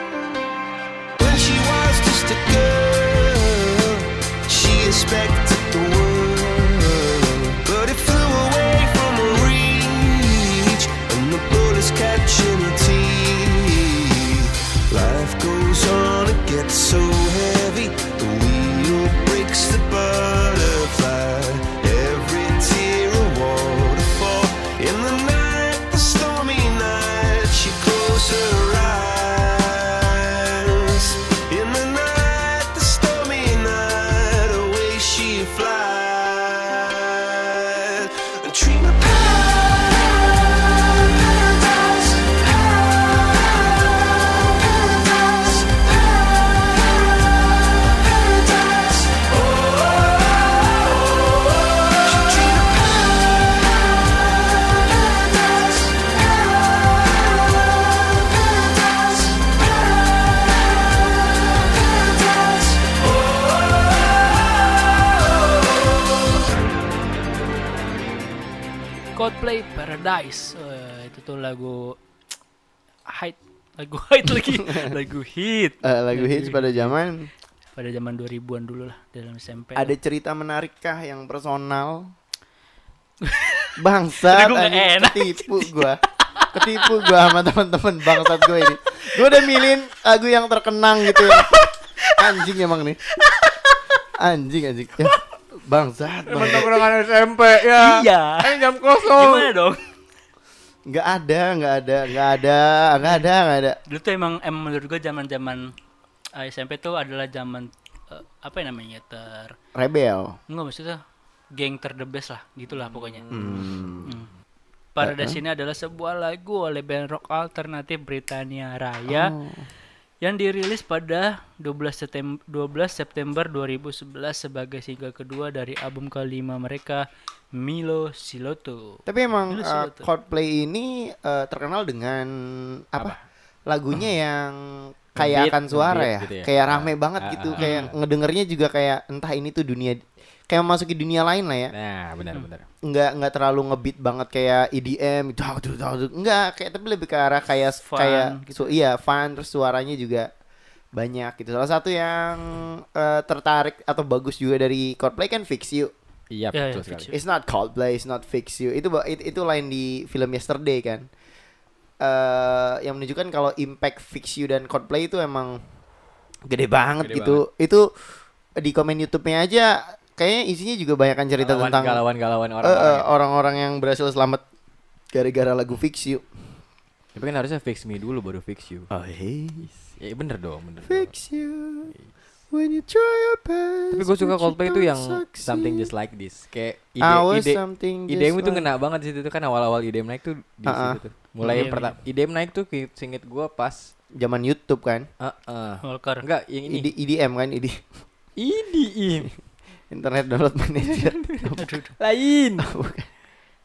[SPEAKER 4] When she was just a girl, she expected the world. But it flew away from her reach, and the bullets catching her teeth. Life goes on, it gets so heavy. The wheel breaks the butterfly. Every tear a waterfall. In the night, the stormy night, she closed her eyes. In the night, the stormy night, away she flies. A dream of paradise, paradise, paradise, oh. Dream of paradise, paradise, paradise.
[SPEAKER 2] Coldplay Paradise Eh, itu tuh lagu hit lagu hit lagi lagu hit
[SPEAKER 1] Eh, lagu hits
[SPEAKER 3] Iya.
[SPEAKER 1] pada zaman
[SPEAKER 2] pada zaman 2000-an dulu lah dalam SMP.
[SPEAKER 1] ada cerita menarikkah yang personal bangsat
[SPEAKER 2] Aduh, gua nggak
[SPEAKER 1] anjing,
[SPEAKER 2] enak.
[SPEAKER 1] ketipu gua ketipu gua sama teman-teman bangsat gue ini gue udah milih lagu yang terkenang gitu ya anjing emang nih anjing anjing ya. bangsat bangsat.
[SPEAKER 3] Nongkrongan SMP ya.
[SPEAKER 2] Iya.
[SPEAKER 3] Eh jam kosong.
[SPEAKER 2] Gimana dong?
[SPEAKER 1] nggak ada nggak ada nggak ada nggak ada nggak ada
[SPEAKER 2] Dulu tuh emang emang menurut gue zaman-zaman eh, SMP tuh adalah zaman eh, apa ya namanya ter
[SPEAKER 1] rebel
[SPEAKER 2] enggak maksudnya geng ter the best lah gitulah pokoknya. Hmm. Paradise ini adalah sebuah lagu oleh band rock alternatif Britania Raya yang dirilis pada 12 September 12 September 2011 sebagai single kedua dari album kelima mereka Milo Siloto.
[SPEAKER 1] Tapi emang
[SPEAKER 2] Dulu sih
[SPEAKER 1] eh,
[SPEAKER 2] gua tuh.
[SPEAKER 1] Coldplay ini eh, terkenal dengan apa? Lagunya yang kayak
[SPEAKER 3] Hmm. Ngebeat,
[SPEAKER 1] akan suara
[SPEAKER 3] ngebeat
[SPEAKER 1] ya,
[SPEAKER 3] gitu ya.
[SPEAKER 1] kayak
[SPEAKER 3] Ah,
[SPEAKER 1] rame banget
[SPEAKER 3] ah,
[SPEAKER 1] gitu,
[SPEAKER 3] ah,
[SPEAKER 1] kayak ngedengernya juga kayak entah ini tuh dunia kayak memasuki dunia lain lah ya.
[SPEAKER 3] Nah, benar
[SPEAKER 2] Hmm.
[SPEAKER 3] benar.
[SPEAKER 1] Nggak nggak terlalu ngebeat banget kayak EDM gitu, gitu, gitu, gitu. Enggak, kayak tapi lebih ke arah kayak
[SPEAKER 2] Fun
[SPEAKER 1] kayak
[SPEAKER 2] gitu.
[SPEAKER 3] ya?
[SPEAKER 1] su- iya fun terus suaranya juga banyak gitu. Salah satu yang eh, tertarik atau bagus juga dari Coldplay kan Fix You.
[SPEAKER 3] Iya,
[SPEAKER 2] Ya,
[SPEAKER 3] betul
[SPEAKER 2] ya,
[SPEAKER 3] sekali.
[SPEAKER 2] fix
[SPEAKER 1] It's not Coldplay, it's not Fix You. Itu ba- it- itu lain di film Yesterday kan. eh yang menunjukkan kalau impact Fix You dan Coldplay itu emang gede banget
[SPEAKER 3] Gede
[SPEAKER 1] gitu. Itu di komen YouTube-nya aja kayaknya isinya juga banyak kan cerita
[SPEAKER 3] Galawan-
[SPEAKER 1] tentang
[SPEAKER 3] galawan-galawan
[SPEAKER 1] eh, eh,
[SPEAKER 3] orang-orang. ya.
[SPEAKER 1] orang-orang yang berhasil selamat gara-gara lagu Fix You.
[SPEAKER 3] Tapi kan harusnya fix me dulu baru fix you.
[SPEAKER 1] Oh, hey.
[SPEAKER 3] Ya bener dong, bener. dong.
[SPEAKER 1] Fix You. When you try your best.
[SPEAKER 3] Tapi gue
[SPEAKER 1] but you
[SPEAKER 3] suka Coldplay itu
[SPEAKER 1] don't
[SPEAKER 3] yang
[SPEAKER 1] succeed.
[SPEAKER 3] something just like this. Kayak ide
[SPEAKER 1] Our
[SPEAKER 3] ide
[SPEAKER 1] something
[SPEAKER 3] IDM
[SPEAKER 1] just
[SPEAKER 3] itu
[SPEAKER 1] like-
[SPEAKER 3] ngena banget di situ tuh kan awal-awal IDM naik tuh di
[SPEAKER 1] Ah, ah.
[SPEAKER 3] situ tuh.
[SPEAKER 2] Iya,
[SPEAKER 3] Mulai pertama IDM naik tuh kayak singit gua pas
[SPEAKER 1] zaman YouTube kan.
[SPEAKER 3] Heeh.
[SPEAKER 2] Walker.
[SPEAKER 3] Enggak, yang ini.
[SPEAKER 1] ID, IDM kan, ID.
[SPEAKER 3] Ini im.
[SPEAKER 1] Internet download manager.
[SPEAKER 3] Lain.
[SPEAKER 1] Bukan.
[SPEAKER 3] Oh,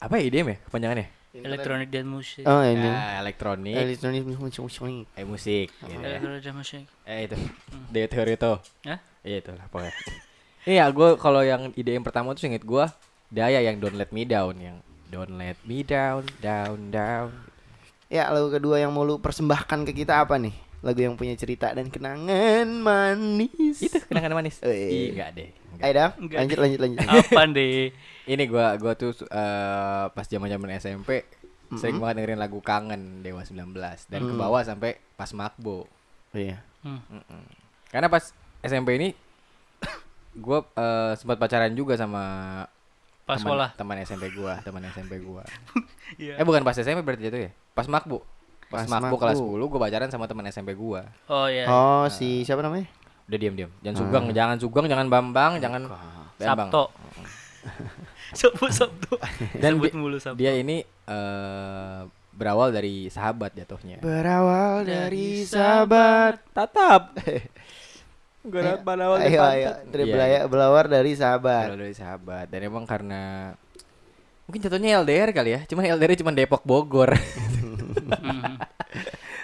[SPEAKER 3] Apa ya IDM ya kepanjangannya?
[SPEAKER 2] Electronic Dance Music.
[SPEAKER 1] Oh, ini.
[SPEAKER 3] Nah, elektronik.
[SPEAKER 1] Electronic music music.
[SPEAKER 3] Eh musik. gitu ya.
[SPEAKER 2] Electronic Dance Music.
[SPEAKER 3] Eh itu. Dari teori itu.
[SPEAKER 2] Hah?
[SPEAKER 3] Iya itu lah pokoknya. Iya gue kalau yang IDM pertama tuh inget gue Daya yang Don't Let Me Down yang Don't Let Me Down Down Down.
[SPEAKER 1] Ya, lagu kedua yang mau lu persembahkan ke kita apa nih? Lagu yang punya cerita dan kenangan manis.
[SPEAKER 3] Itu kenangan manis.
[SPEAKER 1] Eh.
[SPEAKER 3] Ih enggak deh. Enggak.
[SPEAKER 1] Ayo Dam,
[SPEAKER 2] Enggak.
[SPEAKER 1] lanjut lanjut lanjut.
[SPEAKER 2] Apa deh?
[SPEAKER 3] Ini gua gua tuh eh, pas zaman-zaman SMP sering banget dengerin lagu Kangen Dewa 19 dan ke bawah sampai pas Makbo.
[SPEAKER 1] Iya.
[SPEAKER 2] Hmm.
[SPEAKER 3] Karena pas SMP ini gua eh, sempat pacaran juga sama
[SPEAKER 2] Pas
[SPEAKER 3] teman-
[SPEAKER 2] sekolah.
[SPEAKER 3] teman SMP gua, teman SMP gua.
[SPEAKER 2] Iya.
[SPEAKER 3] Eh bukan pas SMP berarti jatuh ya? Pas Makbo. Pas,
[SPEAKER 1] Pas
[SPEAKER 3] Makbo kelas
[SPEAKER 1] Makbo.
[SPEAKER 3] 10 gua pacaran sama teman SMP gua.
[SPEAKER 2] Oh iya.
[SPEAKER 1] Oh, si siapa namanya?
[SPEAKER 3] Udah diam-diam. Jangan Sugeng, jangan Sugeng, jangan Bambang, jangan Bambang.
[SPEAKER 2] Sabto. Sabtu Sabtu.
[SPEAKER 3] Dan
[SPEAKER 2] Sebut
[SPEAKER 3] di-
[SPEAKER 2] mulu Sabtu.
[SPEAKER 3] Dia ini eh, berawal dari sahabat jatuhnya.
[SPEAKER 1] Berawal
[SPEAKER 2] dari
[SPEAKER 1] dari sahabat.
[SPEAKER 3] Tatap.
[SPEAKER 1] Ayo, Eh, ayo, ayo. Triple ayo,
[SPEAKER 3] Iya,
[SPEAKER 1] belawar dari
[SPEAKER 3] Berawal
[SPEAKER 1] sahabat.
[SPEAKER 3] dari sahabat. Dan emang karena mungkin jatuhnya LDR kali ya. Cuman LDR -nya cuman Depok Bogor.
[SPEAKER 2] Mhm.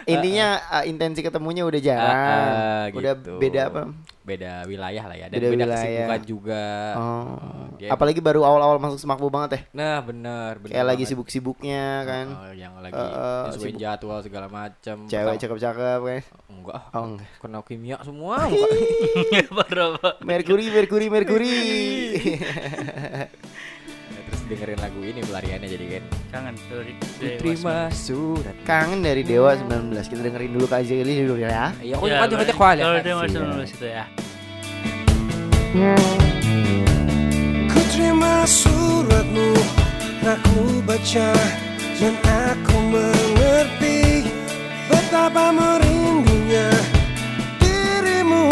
[SPEAKER 1] Intinya uh, intensi ketemunya udah jarang.
[SPEAKER 3] Ah, ah,
[SPEAKER 1] Ya, Udah
[SPEAKER 3] gitu.
[SPEAKER 1] beda apa?
[SPEAKER 3] Beda wilayah lah ya. Dan
[SPEAKER 1] Beda
[SPEAKER 3] beda,
[SPEAKER 1] wilayah.
[SPEAKER 3] kesibukan juga.
[SPEAKER 1] Oh.
[SPEAKER 3] dia-
[SPEAKER 1] Apalagi baru awal-awal masuk semakbu banget ya.
[SPEAKER 3] Nah, bener, bener.
[SPEAKER 1] Kayak lagi
[SPEAKER 3] banget.
[SPEAKER 1] sibuk-sibuknya kan.
[SPEAKER 3] Oh, yang lagi
[SPEAKER 1] Eh, eh,
[SPEAKER 3] nyesuaiin
[SPEAKER 1] sibuk.
[SPEAKER 3] jadwal segala macam.
[SPEAKER 1] Cewek cakep-cakep kan.
[SPEAKER 3] Enggak. ah,
[SPEAKER 1] Oh, enggak.
[SPEAKER 3] Kena kimia semua. muka.
[SPEAKER 2] Iya, Parah, Pak.
[SPEAKER 1] Mercury, Mercury, Mercury.
[SPEAKER 3] Nah, Terus dengerin lagu ini pelariannya jadi kan.
[SPEAKER 2] Kangen dari dari Wasma.
[SPEAKER 3] Terima surat.
[SPEAKER 1] Kangen dari Dewa 19. Kita dengerin dulu Kak Jeli dulu ya.
[SPEAKER 3] Ya,
[SPEAKER 2] Ya,
[SPEAKER 3] aku
[SPEAKER 2] pokoknya
[SPEAKER 3] ngajak kuali.
[SPEAKER 2] Kalau dia masih
[SPEAKER 3] Iya.
[SPEAKER 2] nulis itu ya.
[SPEAKER 5] Ku terima suratmu Tak ku baca Dan aku mengerti Betapa merindunya Dirimu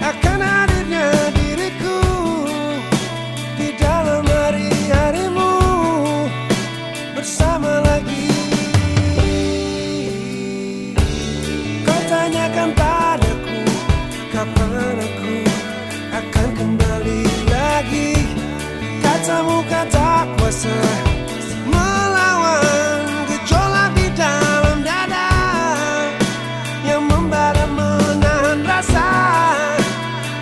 [SPEAKER 5] Akan hadirnya diriku Di dalam hari-harimu Bersama lagi Kau tanyakan padaku Kapan aku akan kembali lagi Katamu kata kuasa Melawan gejolak di dalam dada Yang membara menahan rasa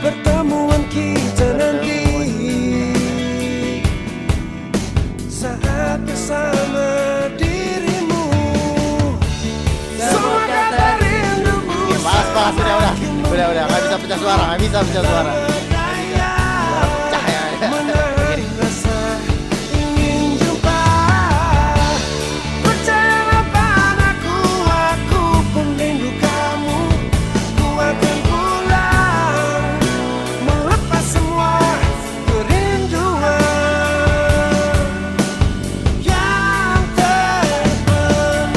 [SPEAKER 5] Pertemuan kita nanti Saat bersama dirimu Semua kata rinduku
[SPEAKER 1] Panas, panas, Iya, udah, udah. Udah, udah, nggak bisa pecah suara, nggak bisa pecah suara.
[SPEAKER 5] Berdaya
[SPEAKER 1] Cah, ya.
[SPEAKER 5] Menahan rasa ingin jumpa Percayalah padaku Aku pun rindu kamu Ku akan pulang Melepas semua kerinduan Yang terpendam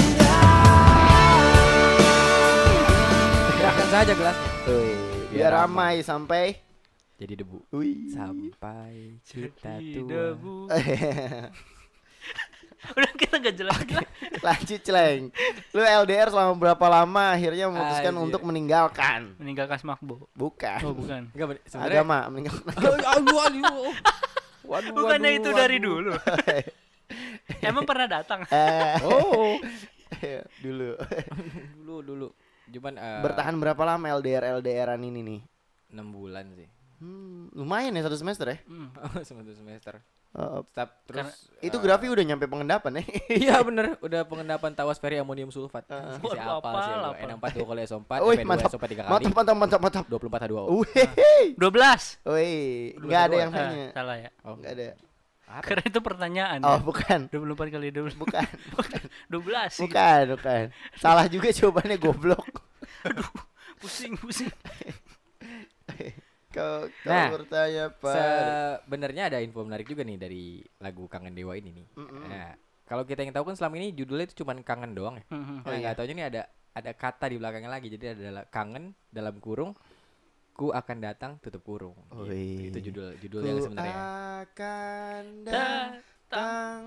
[SPEAKER 3] Gerakan saja gelas.
[SPEAKER 1] Wih, Biar ramai sampai
[SPEAKER 3] Jadi debu.
[SPEAKER 1] Wih.
[SPEAKER 3] Sampai kita
[SPEAKER 2] Jadi
[SPEAKER 3] tua.
[SPEAKER 2] debu. Udah kita nggak jelas lah.
[SPEAKER 1] Lanjut celeng Lu LDR selama berapa lama Akhirnya memutuskan
[SPEAKER 3] Anjir.
[SPEAKER 1] untuk meninggalkan
[SPEAKER 2] Meninggalkan Smakbo.
[SPEAKER 1] Bukan
[SPEAKER 2] Oh bukan.
[SPEAKER 3] Enggak bener- sebenarnya.
[SPEAKER 1] Agama meninggalkan
[SPEAKER 3] Aduh, aduh. Waduh,
[SPEAKER 2] Bukannya
[SPEAKER 3] waduh,
[SPEAKER 2] itu
[SPEAKER 3] waduh.
[SPEAKER 2] dari dulu. Emang pernah datang.
[SPEAKER 1] Eh,
[SPEAKER 3] Oh,
[SPEAKER 1] Dulu
[SPEAKER 3] dulu dulu. Cuman eh,
[SPEAKER 1] Bertahan berapa lama LDR LDRan ini nih
[SPEAKER 3] 6 bulan sih.
[SPEAKER 1] Hmm, Lumayan ya satu semester ya
[SPEAKER 2] Hmm.
[SPEAKER 3] Semester semester.
[SPEAKER 1] Eh,
[SPEAKER 3] Tetap terus
[SPEAKER 1] Itu
[SPEAKER 2] Eh,
[SPEAKER 1] grafi udah nyampe pengendapan ya
[SPEAKER 3] Iya bener, udah pengendapan tawas ferry amonium sulfat.
[SPEAKER 1] Heeh.
[SPEAKER 3] Bisa
[SPEAKER 2] Waduh,
[SPEAKER 3] apal
[SPEAKER 2] apal,
[SPEAKER 3] sih. gua.
[SPEAKER 2] apal.
[SPEAKER 3] N4 2 kali S4,
[SPEAKER 1] Wih,
[SPEAKER 3] P2
[SPEAKER 1] mantap.
[SPEAKER 3] S4 3 kali.
[SPEAKER 1] Mantap Uh, mantap mantap mantap
[SPEAKER 3] 24 H2O.
[SPEAKER 1] Wih
[SPEAKER 2] 12.
[SPEAKER 1] Wih
[SPEAKER 3] Dua-dua
[SPEAKER 1] Gak ada yang
[SPEAKER 2] Ah,
[SPEAKER 1] tanya
[SPEAKER 2] salah ya.
[SPEAKER 3] Oh,
[SPEAKER 1] Gak ada
[SPEAKER 3] apa?
[SPEAKER 2] Karena itu pertanyaan.
[SPEAKER 1] Oh
[SPEAKER 2] ya.
[SPEAKER 1] bukan
[SPEAKER 2] 24 kali 12.
[SPEAKER 1] Bukan
[SPEAKER 2] 12 sih.
[SPEAKER 1] Bukan bukan Salah juga jawabannya goblok
[SPEAKER 2] Pusing, pusing.
[SPEAKER 1] Kau, kau
[SPEAKER 3] Nah,
[SPEAKER 1] bertanya apa?
[SPEAKER 3] Sebenarnya ada info menarik juga nih dari lagu Kangen Dewa ini nih. Nah, kalau kita yang tahu kan selama ini judulnya itu cuman kangen doang ya.
[SPEAKER 2] Mhm.
[SPEAKER 1] Oh, iya.
[SPEAKER 3] Nah, nggak taunya nih ada ada kata di belakangnya lagi. Jadi ada la- kangen dalam kurung ku akan datang tutup kurung. Gitu.
[SPEAKER 1] Wih.
[SPEAKER 3] Itu judul judul yang sebenarnya.
[SPEAKER 1] akan
[SPEAKER 2] ya. Datang.
[SPEAKER 1] datang.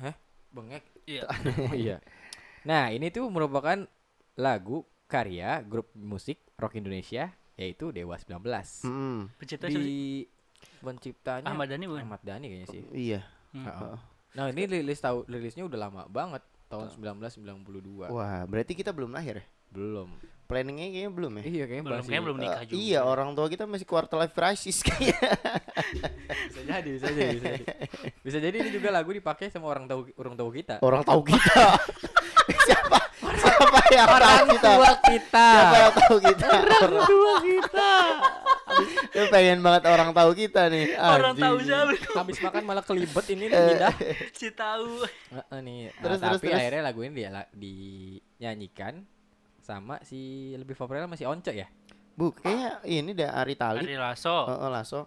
[SPEAKER 3] Hah? Bengek.
[SPEAKER 2] Iya.
[SPEAKER 3] Oh, iya. Nah, ini tuh merupakan lagu karya grup musik rock Indonesia yaitu Dewa 19.
[SPEAKER 1] Mm-mm.
[SPEAKER 2] Pencipta siapa sih?
[SPEAKER 3] Di penciptanya
[SPEAKER 2] Ahmad Dhani bukan?
[SPEAKER 3] Ahmad Dhani kayaknya sih.
[SPEAKER 1] Iya.
[SPEAKER 2] Hmm.
[SPEAKER 1] Heeh.
[SPEAKER 3] Nah, ini rilis tahu rilisnya udah lama banget, tahun 1992.
[SPEAKER 1] Wah, berarti kita belum lahir ya?
[SPEAKER 3] Belum.
[SPEAKER 1] Planningnya kayaknya belum ya?
[SPEAKER 3] Iya, kayaknya
[SPEAKER 2] belum
[SPEAKER 3] masih
[SPEAKER 2] kayaknya belum nikah
[SPEAKER 1] Eh,
[SPEAKER 2] juga.
[SPEAKER 1] iya, orang tua kita masih quarter life crisis kayaknya.
[SPEAKER 3] bisa jadi, bisa jadi, bisa jadi. Bisa jadi ini juga lagu dipakai sama orang tahu orang tahu kita.
[SPEAKER 1] orang tahu kita. siapa? Siapa yang tahu kita?
[SPEAKER 3] kita.
[SPEAKER 1] Siapa yang tahu kita? Orang tua kita. Lu pengen banget orang tahu kita nih.
[SPEAKER 2] Orang
[SPEAKER 1] anjing.
[SPEAKER 2] tahu siapa?
[SPEAKER 3] Habis makan malah kelibet ini lidah.
[SPEAKER 2] Si tahu.
[SPEAKER 3] Heeh nih. Nah,
[SPEAKER 1] Terus, terus,
[SPEAKER 3] tapi
[SPEAKER 1] terus.
[SPEAKER 3] akhirnya lagu ini dia dinyanyikan sama si lebih favoritnya masih Once ya.
[SPEAKER 1] Bu, kayaknya ini dah Ari Tali.
[SPEAKER 2] Ari Lasso.
[SPEAKER 1] Oh, oh, Lasso.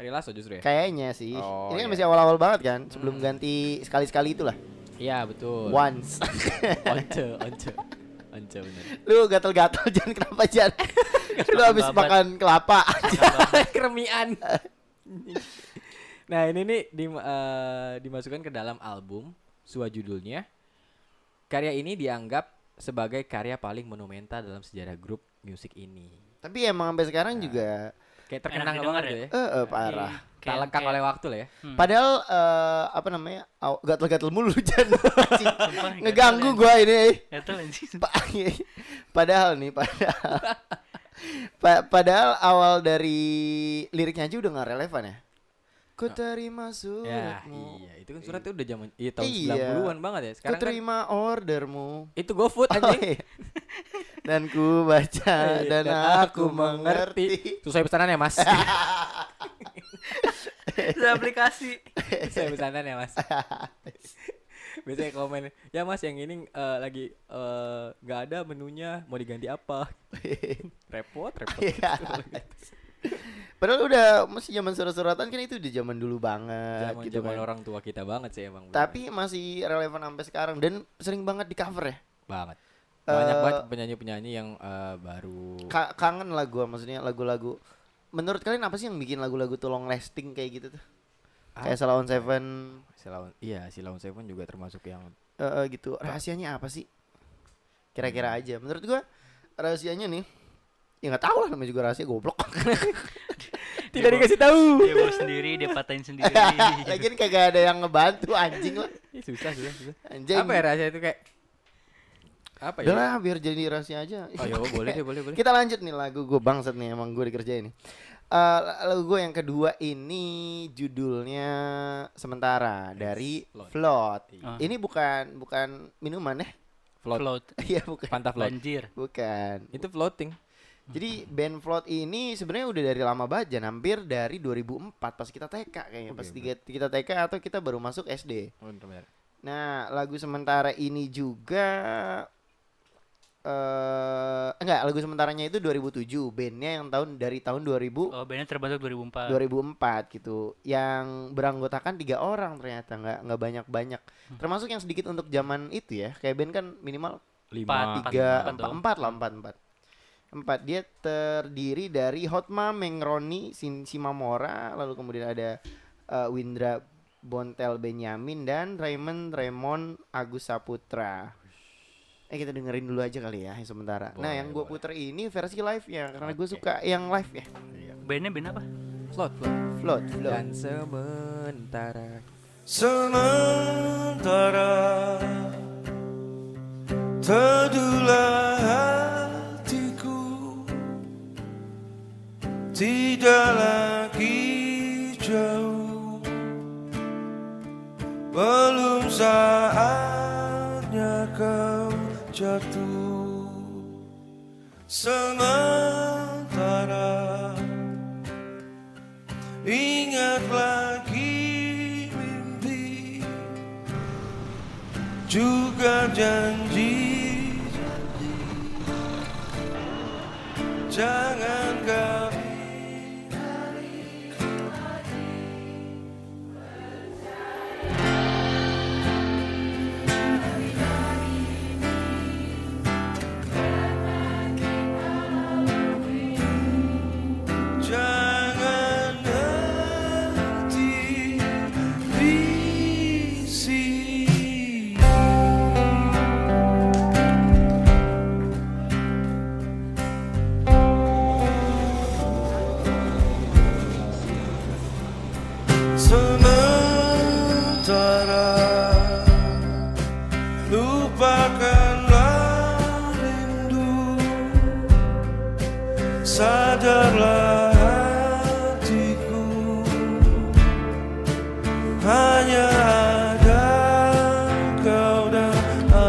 [SPEAKER 3] Ari Lasso justru ya.
[SPEAKER 1] Kayaknya sih.
[SPEAKER 3] Oh,
[SPEAKER 1] ini kan
[SPEAKER 3] iya.
[SPEAKER 1] masih awal-awal banget kan, sebelum
[SPEAKER 2] Hmm.
[SPEAKER 1] ganti sekali-sekali itulah.
[SPEAKER 3] Iya betul.
[SPEAKER 1] Once.
[SPEAKER 3] Once, Once, Once bener.
[SPEAKER 1] Lu gatel-gatel jangan kenapa jangan. Lu habis
[SPEAKER 2] Babat.
[SPEAKER 1] makan kelapa.
[SPEAKER 3] Keremian. nah ini nih dim- eh, dimasukkan ke dalam album Sua judulnya. Karya ini dianggap sebagai karya paling monumental dalam sejarah grup musik ini.
[SPEAKER 1] Tapi emang sampai sekarang juga
[SPEAKER 3] Kayak terkenang
[SPEAKER 2] didengar
[SPEAKER 3] banget
[SPEAKER 2] ya?
[SPEAKER 3] tuh ya.
[SPEAKER 1] eh eh, parah.
[SPEAKER 2] Iya.
[SPEAKER 3] Tak lekang oleh waktu lah ya.
[SPEAKER 1] Padahal eh, apa namanya? aw- gatel-gatel mulu Jan. Anjing.
[SPEAKER 2] Sumpah,
[SPEAKER 1] Ngeganggu
[SPEAKER 3] ya.
[SPEAKER 2] gatel,
[SPEAKER 1] gua ini.
[SPEAKER 2] Gatel Ya anjing.
[SPEAKER 1] Pa- padahal nih padahal Pa- padahal awal dari liriknya aja udah nggak relevan ya. Ku terima
[SPEAKER 3] Oh. Ya,
[SPEAKER 1] suratmu.
[SPEAKER 3] iya, itu kan surat itu udah zaman iya tahun
[SPEAKER 1] Iya.
[SPEAKER 3] 90-an banget ya.
[SPEAKER 1] Ku
[SPEAKER 3] Sekarang kan
[SPEAKER 1] terima ordermu.
[SPEAKER 3] itu GoFood
[SPEAKER 1] Oh,
[SPEAKER 3] anjing.
[SPEAKER 1] iya. Dan ku baca
[SPEAKER 3] Eh,
[SPEAKER 1] dan, aku mengerti.
[SPEAKER 3] Sesuai pesanan ya, Mas.
[SPEAKER 2] Itu aplikasi.
[SPEAKER 3] Sesuai pesanan ya, Mas. Biasanya komen, "Ya Mas, yang ini eh, lagi eh, nggak ada menunya, mau diganti apa?" repot, repot.
[SPEAKER 1] Iya. Padahal udah masih zaman surat-suratan kan itu udah zaman dulu banget
[SPEAKER 3] Zaman
[SPEAKER 1] gitu
[SPEAKER 3] zaman
[SPEAKER 1] kan.
[SPEAKER 3] orang tua kita banget sih emang. bener.
[SPEAKER 1] Tapi masih relevan sampai sekarang dan sering banget di cover ya.
[SPEAKER 3] banget. Banyak
[SPEAKER 1] Eh,
[SPEAKER 3] banget penyanyi-penyanyi yang eh, baru
[SPEAKER 1] Ka- kangen lah gua maksudnya lagu-lagu. Menurut kalian apa sih yang bikin lagu-lagu tuh long lasting kayak gitu tuh? Kayak Salah
[SPEAKER 3] ya?
[SPEAKER 1] on Seven
[SPEAKER 3] si Laun- iya, si Laun Seven juga termasuk yang
[SPEAKER 1] eh, eh, gitu. Rahasianya apa sih? Kira-kira aja. Menurut gua rahasianya nih ya nggak tahu lah namanya juga rahasia goblok.
[SPEAKER 3] tidak dikasih tahu.
[SPEAKER 2] Dia bawa sendiri, dia patahin sendiri.
[SPEAKER 1] Lagian kagak ada yang ngebantu anjing lah.
[SPEAKER 3] Ih, Iya, susah, susah, susah.
[SPEAKER 1] Anjing.
[SPEAKER 3] Apa ya rahasia itu kayak apa ya?
[SPEAKER 1] Udah lah biar jadi rahasia aja.
[SPEAKER 3] Oh, iya, boleh deh, boleh, boleh.
[SPEAKER 1] Kita lanjut nih lagu gue bangsat nih emang gue dikerjain nih. Eh, lagu gue yang kedua ini judulnya sementara dari
[SPEAKER 3] Float.
[SPEAKER 1] Float.
[SPEAKER 2] Iya.
[SPEAKER 1] Ini bukan bukan minuman ya?
[SPEAKER 3] Float.
[SPEAKER 2] Float.
[SPEAKER 1] Iya bukan.
[SPEAKER 3] Panta float.
[SPEAKER 2] Banjir.
[SPEAKER 1] Bukan.
[SPEAKER 3] Itu floating.
[SPEAKER 1] Jadi band Float ini sebenarnya udah dari lama banget, Jan. hampir dari 2004 pas kita TK kayaknya, pas
[SPEAKER 3] Oke,
[SPEAKER 1] tiga- kita TK atau kita baru masuk SD.
[SPEAKER 3] benar.
[SPEAKER 1] Nah, lagu sementara ini juga eh enggak, lagu sementaranya itu 2007, bandnya yang tahun dari tahun 2000
[SPEAKER 2] Oh, bandnya terbentuk 2004.
[SPEAKER 1] 2004 gitu. Yang beranggotakan tiga orang ternyata nggak nggak banyak-banyak. Termasuk yang sedikit untuk zaman itu ya. Kayak band kan minimal
[SPEAKER 2] Empat,
[SPEAKER 1] tiga empat,
[SPEAKER 2] empat dong.
[SPEAKER 1] empat lah empat empat empat dia terdiri dari Hotma Mengroni Sin Simamora lalu kemudian ada eh, Windra Bontel Benyamin dan Raymond Raymond Agus Saputra eh kita dengerin dulu aja kali ya yang sementara nah
[SPEAKER 3] Boleh,
[SPEAKER 1] yang gue
[SPEAKER 3] boleh.
[SPEAKER 1] puter ini versi live nya karena gue
[SPEAKER 3] Oke.
[SPEAKER 1] suka yang live ya
[SPEAKER 2] Bandnya band apa?
[SPEAKER 3] Float, float.
[SPEAKER 1] float float
[SPEAKER 3] Dan sementara
[SPEAKER 5] Sementara Teduhlah hatiku Tidak lagi jauh Belum saatnya kau jatuh Sementara Ingat lagi mimpi Juga janji Jangan kau Jangan nanti di sini
[SPEAKER 6] sadarlah hatiku hanya ada kau dan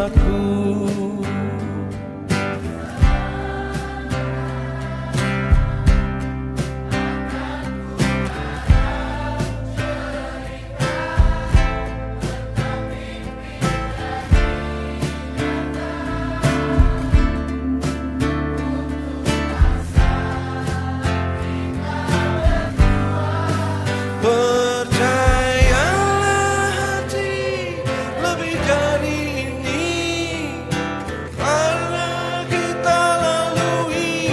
[SPEAKER 6] aku percayalah hati lebih dari ini karena kita lalui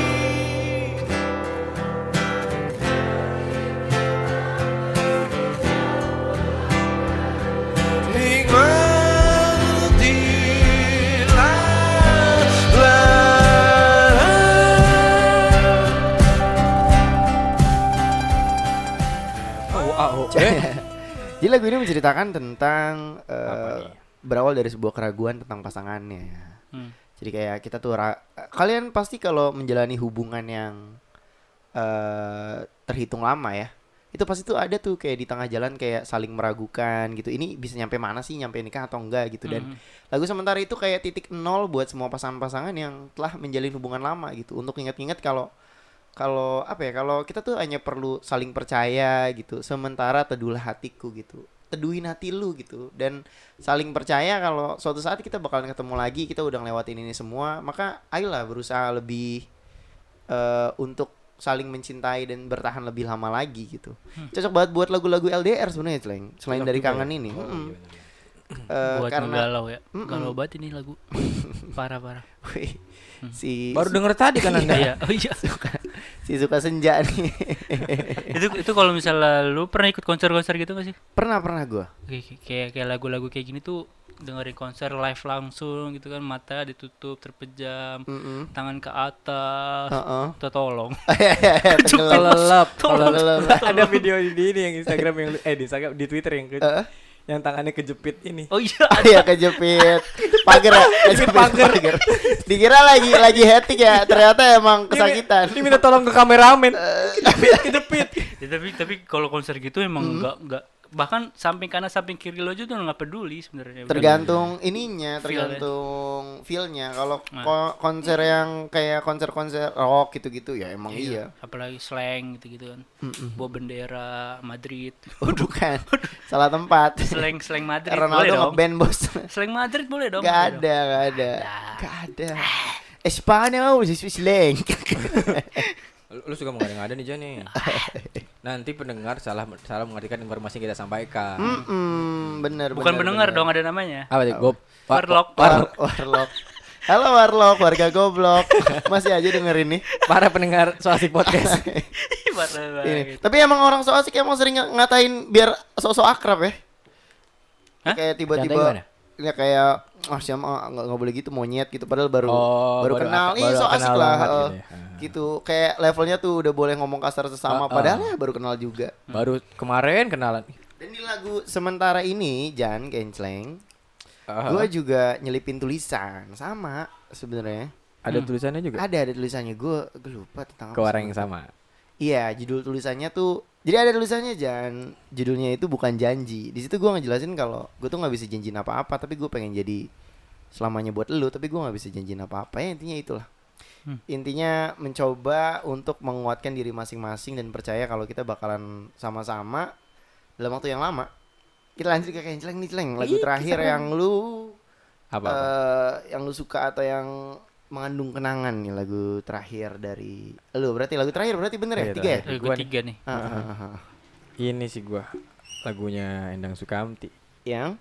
[SPEAKER 6] Nikmatilah
[SPEAKER 3] Oh, wow. Eh,
[SPEAKER 1] Jadi lagu ini menceritakan tentang eh,
[SPEAKER 3] Apa nih?
[SPEAKER 1] berawal dari sebuah keraguan tentang pasangannya.
[SPEAKER 2] Hmm.
[SPEAKER 1] Jadi kayak kita tuh ra- kalian pasti kalau menjalani hubungan yang eh terhitung lama ya, itu pasti tuh ada tuh kayak di tengah jalan kayak saling meragukan gitu. Ini bisa nyampe mana sih, nyampe nikah atau enggak gitu. Dan lagu sementara itu kayak titik nol buat semua pasangan-pasangan yang telah menjalin hubungan lama gitu. Untuk ingat-ingat kalau kalau apa ya kalau kita tuh hanya perlu saling percaya gitu sementara teduhlah hatiku gitu teduhin hati lu gitu dan saling percaya kalau suatu saat kita bakalan ketemu lagi kita udah ngelewatin ini semua maka ayolah berusaha lebih eh, untuk saling mencintai dan bertahan lebih lama lagi gitu cocok banget buat lagu-lagu LDR sebenarnya Celeng. selain dari kangen ini Mm-mm. Eh,
[SPEAKER 2] Buat
[SPEAKER 1] karena
[SPEAKER 2] galau ya.
[SPEAKER 1] Mm-mm.
[SPEAKER 2] Galau banget ini lagu. Parah-parah.
[SPEAKER 1] si
[SPEAKER 3] baru denger tadi kan Anda.
[SPEAKER 2] Iya, oh iya.
[SPEAKER 1] si suka senja nih
[SPEAKER 2] itu itu kalau misalnya lu pernah ikut konser-konser gitu gak sih?
[SPEAKER 1] pernah pernah gua
[SPEAKER 2] Kayak- kayak- kayak kayak lagu-lagu kayak gini tuh dengerin konser live langsung gitu kan mata ditutup terpejam
[SPEAKER 1] Mm-mm.
[SPEAKER 2] tangan ke atas
[SPEAKER 1] Heeh.
[SPEAKER 2] tuh tolong
[SPEAKER 1] Tenggelam.
[SPEAKER 3] Kelelep,
[SPEAKER 2] Tolong,
[SPEAKER 1] kelelep.
[SPEAKER 3] Ada video di ini yang Instagram yang lu- eh di Instagram di Twitter yang ke-
[SPEAKER 1] Heeh.
[SPEAKER 3] yang tangannya kejepit ini.
[SPEAKER 2] oh iya ada
[SPEAKER 1] Iya kejepit pagar ya, kejepit
[SPEAKER 3] pagar.
[SPEAKER 1] pagar. Dikira lagi lagi hectic ya, ternyata emang kesakitan.
[SPEAKER 3] Dia minta tolong ke kameramen. Kejepit, kejepit.
[SPEAKER 2] Ya, tapi tapi kalau konser gitu
[SPEAKER 1] Hmm.
[SPEAKER 2] emang nggak nggak bahkan samping kanan samping kiri lo aja tuh nggak peduli sebenarnya
[SPEAKER 1] Tergantung ininya,
[SPEAKER 2] Feel-nya.
[SPEAKER 1] tergantung feel-nya. Kalau
[SPEAKER 2] Nah.
[SPEAKER 1] ko- konser yang kayak konser-konser rock gitu-gitu ya emang iya.
[SPEAKER 2] apalagi slang gitu gitu kan bawa bendera Madrid
[SPEAKER 1] Oh, bukan. Salah tempat.
[SPEAKER 2] slang slang Madrid boleh
[SPEAKER 1] Ronaldo
[SPEAKER 2] dong
[SPEAKER 1] nge-band bos.
[SPEAKER 2] slang Madrid boleh dong
[SPEAKER 1] Gak
[SPEAKER 2] boleh dong.
[SPEAKER 1] ada, gak ada. Gak ada. Eh, Espanyol, Slang.
[SPEAKER 3] Lu, lu suka mengada-ngada nih Jani. Nanti pendengar salah salah mengartikan informasi yang kita sampaikan.
[SPEAKER 1] Mm-mm, bener,
[SPEAKER 2] bukan
[SPEAKER 1] bener,
[SPEAKER 2] pendengar
[SPEAKER 1] bener. Ah,
[SPEAKER 2] dong ada namanya
[SPEAKER 3] Apa tuh? Gop. wa-
[SPEAKER 2] Warlock.
[SPEAKER 3] war-
[SPEAKER 1] War- warlock. Halo warlock, warga goblok. Masih aja dengerin nih.
[SPEAKER 3] Para pendengar Soasik Podcast.
[SPEAKER 2] Parah
[SPEAKER 1] Ini.
[SPEAKER 2] banget.
[SPEAKER 1] Tapi emang orang so asik emang sering ng- ngatain biar sosok akrab ya.
[SPEAKER 2] Hah?
[SPEAKER 1] Kayak
[SPEAKER 3] Contohnya
[SPEAKER 1] tiba-tiba ya kayak ah siapa ah, nggak nggak boleh gitu monyet gitu padahal baru baru,
[SPEAKER 3] Oh, baru
[SPEAKER 1] kenal
[SPEAKER 3] ak-
[SPEAKER 1] ih
[SPEAKER 3] baru
[SPEAKER 1] so
[SPEAKER 3] kenal
[SPEAKER 1] asik lah
[SPEAKER 3] banget
[SPEAKER 1] eh,
[SPEAKER 3] gitu ya.
[SPEAKER 1] gitu kayak levelnya tuh udah boleh ngomong kasar sesama
[SPEAKER 3] Ah, ah.
[SPEAKER 1] padahal ya baru kenal juga
[SPEAKER 3] Baru kemarin kenalan.
[SPEAKER 1] dan di lagu sementara ini Jan Kencleng
[SPEAKER 3] Ah,
[SPEAKER 1] gue juga nyelipin tulisan sama sebenarnya
[SPEAKER 3] Hmm. ada tulisannya juga.
[SPEAKER 1] ada ada tulisannya gue gue lupa tentang
[SPEAKER 3] Ke
[SPEAKER 1] apa
[SPEAKER 3] orang
[SPEAKER 1] sih.
[SPEAKER 3] yang sama.
[SPEAKER 1] Iya, judul tulisannya tuh jadi ada tulisannya Jan. Judulnya itu bukan janji. Di situ gua ngejelasin kalau gue tuh nggak bisa janjiin apa-apa, tapi gue pengen jadi selamanya buat lu, tapi gua nggak bisa janjiin apa-apa. Ya intinya itulah. Intinya mencoba untuk menguatkan diri masing-masing dan percaya kalau kita bakalan sama-sama dalam waktu yang lama. Kita lanjut ke Kenceleng nih, Celeng. Lagu terakhir yang lu
[SPEAKER 3] Apa?
[SPEAKER 1] eh, yang lu suka atau yang mengandung kenangan nih lagu terakhir dari lu berarti lagu terakhir berarti bener ya
[SPEAKER 3] Iya,
[SPEAKER 1] tiga ya
[SPEAKER 3] terakhir.
[SPEAKER 2] Eh, gue
[SPEAKER 3] Gua nih.
[SPEAKER 2] tiga nih
[SPEAKER 1] Ah, ah, ah, ah.
[SPEAKER 3] Ini sih gua lagunya Endang Sukamti
[SPEAKER 1] yang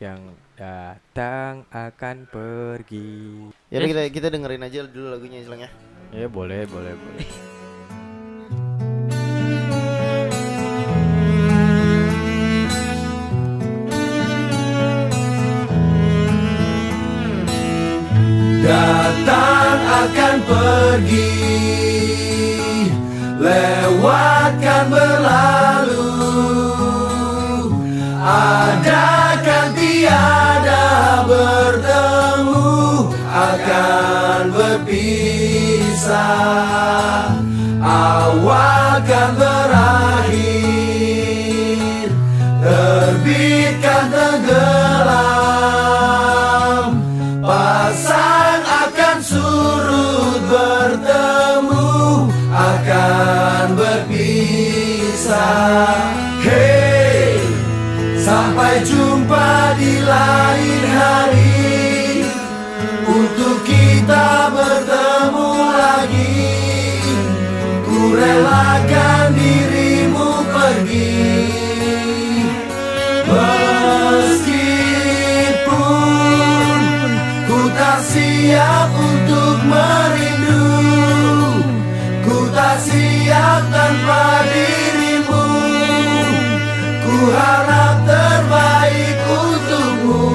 [SPEAKER 3] yang datang akan pergi.
[SPEAKER 1] ya udah, kita kita dengerin aja dulu lagunya Islang ya
[SPEAKER 3] Ya boleh, boleh, boleh.
[SPEAKER 6] Datang akan pergi Lewatkan berlalu Ada kan tiada bertemu Akan berpisah awal kan berakhir Terbit kan tenggelam Pasang akan surut bertemu Akan berpisah Hey, sampai jumpa di lain hari untuk kita bertemu lagi Ku relakan dirimu pergi Meskipun ku tak siap untuk merindu Ku tak siap tanpa dirimu Ku harap terbaik untukmu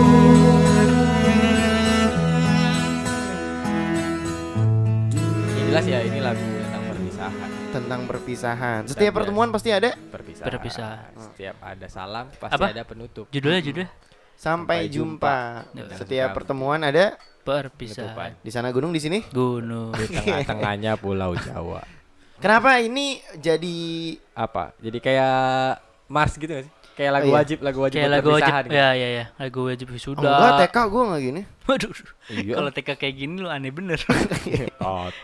[SPEAKER 3] Ya, jelas ya ini lagu tentang perpisahan.
[SPEAKER 1] tentang perpisahan. Setiap pertemuan pasti ada
[SPEAKER 3] Perpisahan.
[SPEAKER 2] Perpisahan.
[SPEAKER 3] Setiap ada salam pasti
[SPEAKER 2] Apa?
[SPEAKER 3] ada penutup.
[SPEAKER 2] Judulnya judul
[SPEAKER 1] sampai
[SPEAKER 3] Sampai
[SPEAKER 1] jumpa.
[SPEAKER 3] jumpa.
[SPEAKER 1] Setiap pertemuan ada
[SPEAKER 2] perpisahan
[SPEAKER 1] di sana gunung di sini.
[SPEAKER 2] gunung.
[SPEAKER 3] Di tengah-tengahnya Pulau Jawa.
[SPEAKER 1] Kenapa ini jadi
[SPEAKER 3] Apa? Jadi kayak Mars gitu gak sih? Kayak lagu
[SPEAKER 1] Iya.
[SPEAKER 3] wajib, lagu wajib
[SPEAKER 2] Kayak
[SPEAKER 3] buat
[SPEAKER 2] lagu wajib,
[SPEAKER 3] perpisahan gitu.
[SPEAKER 2] ya ya ya, lagu wajib
[SPEAKER 1] Oh,
[SPEAKER 2] sudah.
[SPEAKER 1] enggak TK gue enggak gini.
[SPEAKER 2] Waduh,
[SPEAKER 3] Iya.
[SPEAKER 2] kalau TK kayak gini lu aneh bener.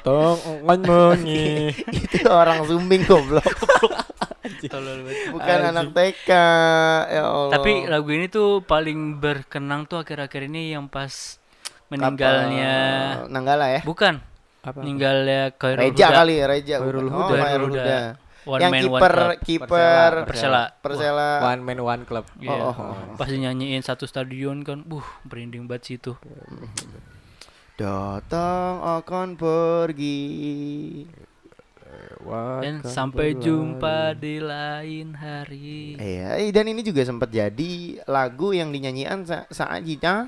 [SPEAKER 3] Totong engon mengi.
[SPEAKER 1] Itu orang zooming goblok,
[SPEAKER 2] Tolol banget.
[SPEAKER 1] bukan anak TK. Ya Allah.
[SPEAKER 2] Tapi eh, lagu ini tuh paling berkenang tuh akhir-akhir ini yang pas meninggalnya
[SPEAKER 1] Kapal Nanggala ya.
[SPEAKER 2] bukan meninggalnya Khairul
[SPEAKER 1] Reja
[SPEAKER 2] Huda.
[SPEAKER 1] kali, Reja.
[SPEAKER 3] Khairul
[SPEAKER 1] bukan. Oh,
[SPEAKER 2] Huda.
[SPEAKER 1] Khairul
[SPEAKER 2] Huda.
[SPEAKER 1] Huda.
[SPEAKER 2] One
[SPEAKER 1] Yang
[SPEAKER 2] man, one
[SPEAKER 1] kiper Oh,
[SPEAKER 2] club.
[SPEAKER 1] kiper
[SPEAKER 2] Persela.
[SPEAKER 1] Persela.
[SPEAKER 3] One man one club.
[SPEAKER 2] Iya.
[SPEAKER 1] Oh, oh,
[SPEAKER 2] Pas dinyanyiin satu stadion kan, buh, merinding banget situ.
[SPEAKER 1] Datang akan pergi.
[SPEAKER 2] Dan sampai jumpa di lain hari.
[SPEAKER 1] Iya, eh, dan ini juga sempat jadi lagu yang dinyanyian sa- saat kita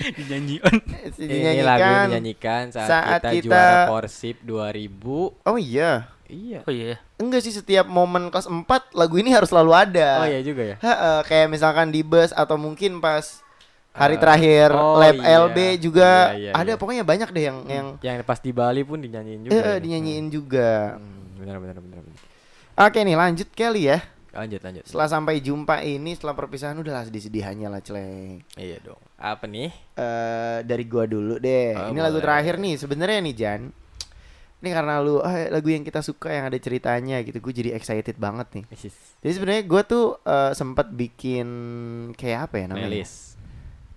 [SPEAKER 2] Dinyanyiin.
[SPEAKER 3] Ini lagu yang
[SPEAKER 1] dinyanyikan.
[SPEAKER 3] dinyanyikan saat,
[SPEAKER 1] saat kita-
[SPEAKER 3] kita, juara Porsip 2000.
[SPEAKER 1] Oh iya.
[SPEAKER 3] Iya.
[SPEAKER 2] Oh iya.
[SPEAKER 1] Enggak sih setiap momen kelas 4 lagu ini harus selalu ada.
[SPEAKER 3] Oh iya juga ya.
[SPEAKER 1] Heeh, kayak misalkan di bus atau mungkin pas hari terakhir
[SPEAKER 3] oh
[SPEAKER 1] lab
[SPEAKER 3] iya.
[SPEAKER 1] LB juga
[SPEAKER 3] Iya, iya,
[SPEAKER 1] ada
[SPEAKER 3] iya.
[SPEAKER 1] pokoknya banyak deh yang yang
[SPEAKER 3] Yang pas di Bali pun dinyanyiin juga.
[SPEAKER 1] eh,
[SPEAKER 3] ya.
[SPEAKER 1] dinyanyiin juga.
[SPEAKER 3] Hmm, Benar benar benar. benar.
[SPEAKER 1] Oke nih lanjut kali ya.
[SPEAKER 3] Lanjut lanjut.
[SPEAKER 1] Setelah sampai jumpa ini setelah perpisahan udahlah sedih-sedihannya lah celeng.
[SPEAKER 3] Iya dong. Apa nih?
[SPEAKER 1] Eh dari gua dulu deh.
[SPEAKER 3] Oh,
[SPEAKER 1] ini lagu
[SPEAKER 3] boleh.
[SPEAKER 1] terakhir nih sebenarnya nih Jan. Ini karena lu ah, lagu yang kita suka yang ada ceritanya gitu. Gue jadi excited banget nih.
[SPEAKER 3] Isis.
[SPEAKER 1] Jadi sebenarnya gue tuh eh, sempat bikin kayak apa ya namanya?
[SPEAKER 3] Playlist.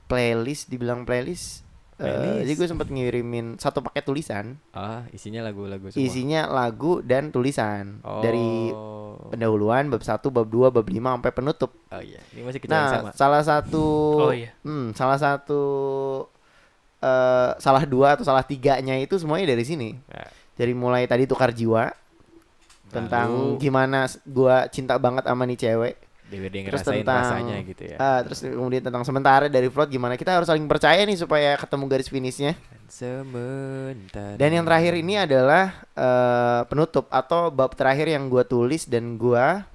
[SPEAKER 1] Playlist, dibilang playlist. Eh,
[SPEAKER 3] Playlist.
[SPEAKER 1] jadi gue sempat ngirimin satu paket tulisan,
[SPEAKER 3] Ah, isinya lagu-lagu semua.
[SPEAKER 1] isinya lagu dan tulisan
[SPEAKER 3] Oh.
[SPEAKER 1] dari Oh. pendahuluan bab 1, bab 2, bab 5 sampai penutup.
[SPEAKER 3] Oh iya, ini masih kejadian sama.
[SPEAKER 1] Nah, salah satu
[SPEAKER 2] Oh, iya.
[SPEAKER 1] hmm, salah satu eh salah dua atau salah tiganya itu semuanya dari sini.
[SPEAKER 3] Nah,
[SPEAKER 1] Dari mulai tadi tukar jiwa tentang
[SPEAKER 3] Lalu-
[SPEAKER 1] gimana s- gua cinta banget sama nih cewek.
[SPEAKER 3] Dewi dia
[SPEAKER 1] Terus
[SPEAKER 3] ngerasain
[SPEAKER 1] tentang-
[SPEAKER 3] rasanya gitu ya.
[SPEAKER 1] Ah, terus kemudian tentang sementara dari Flood gimana kita harus saling percaya nih supaya ketemu garis finishnya.
[SPEAKER 3] Sementara.
[SPEAKER 1] Dan yang terakhir ini adalah eh, penutup atau bab terakhir yang gua tulis dan gua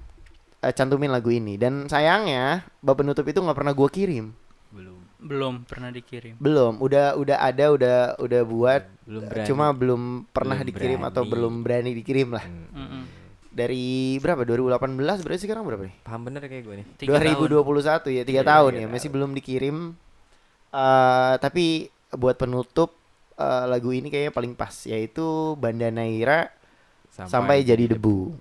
[SPEAKER 1] eh, cantumin lagu ini. Dan sayangnya bab penutup itu nggak pernah gua kirim.
[SPEAKER 2] Belum pernah dikirim.
[SPEAKER 1] Belum, udah udah ada, udah udah buat.
[SPEAKER 3] belum berani.
[SPEAKER 1] Cuma belum pernah
[SPEAKER 3] Belum
[SPEAKER 1] dikirim atau
[SPEAKER 3] berani.
[SPEAKER 1] belum berani dikirim lah.
[SPEAKER 2] Mm-mm.
[SPEAKER 1] Dari berapa? 2018 berarti sekarang berapa nih?
[SPEAKER 3] paham bener kayak gue nih.
[SPEAKER 2] Tiga tahun.
[SPEAKER 1] 2021 ya tiga
[SPEAKER 3] Iya,
[SPEAKER 1] tahun
[SPEAKER 3] tiga
[SPEAKER 1] ya masih belum dikirim Eh, tapi buat penutup eh, lagu ini kayaknya paling pas yaitu Banda Naira sampai, jadi debu.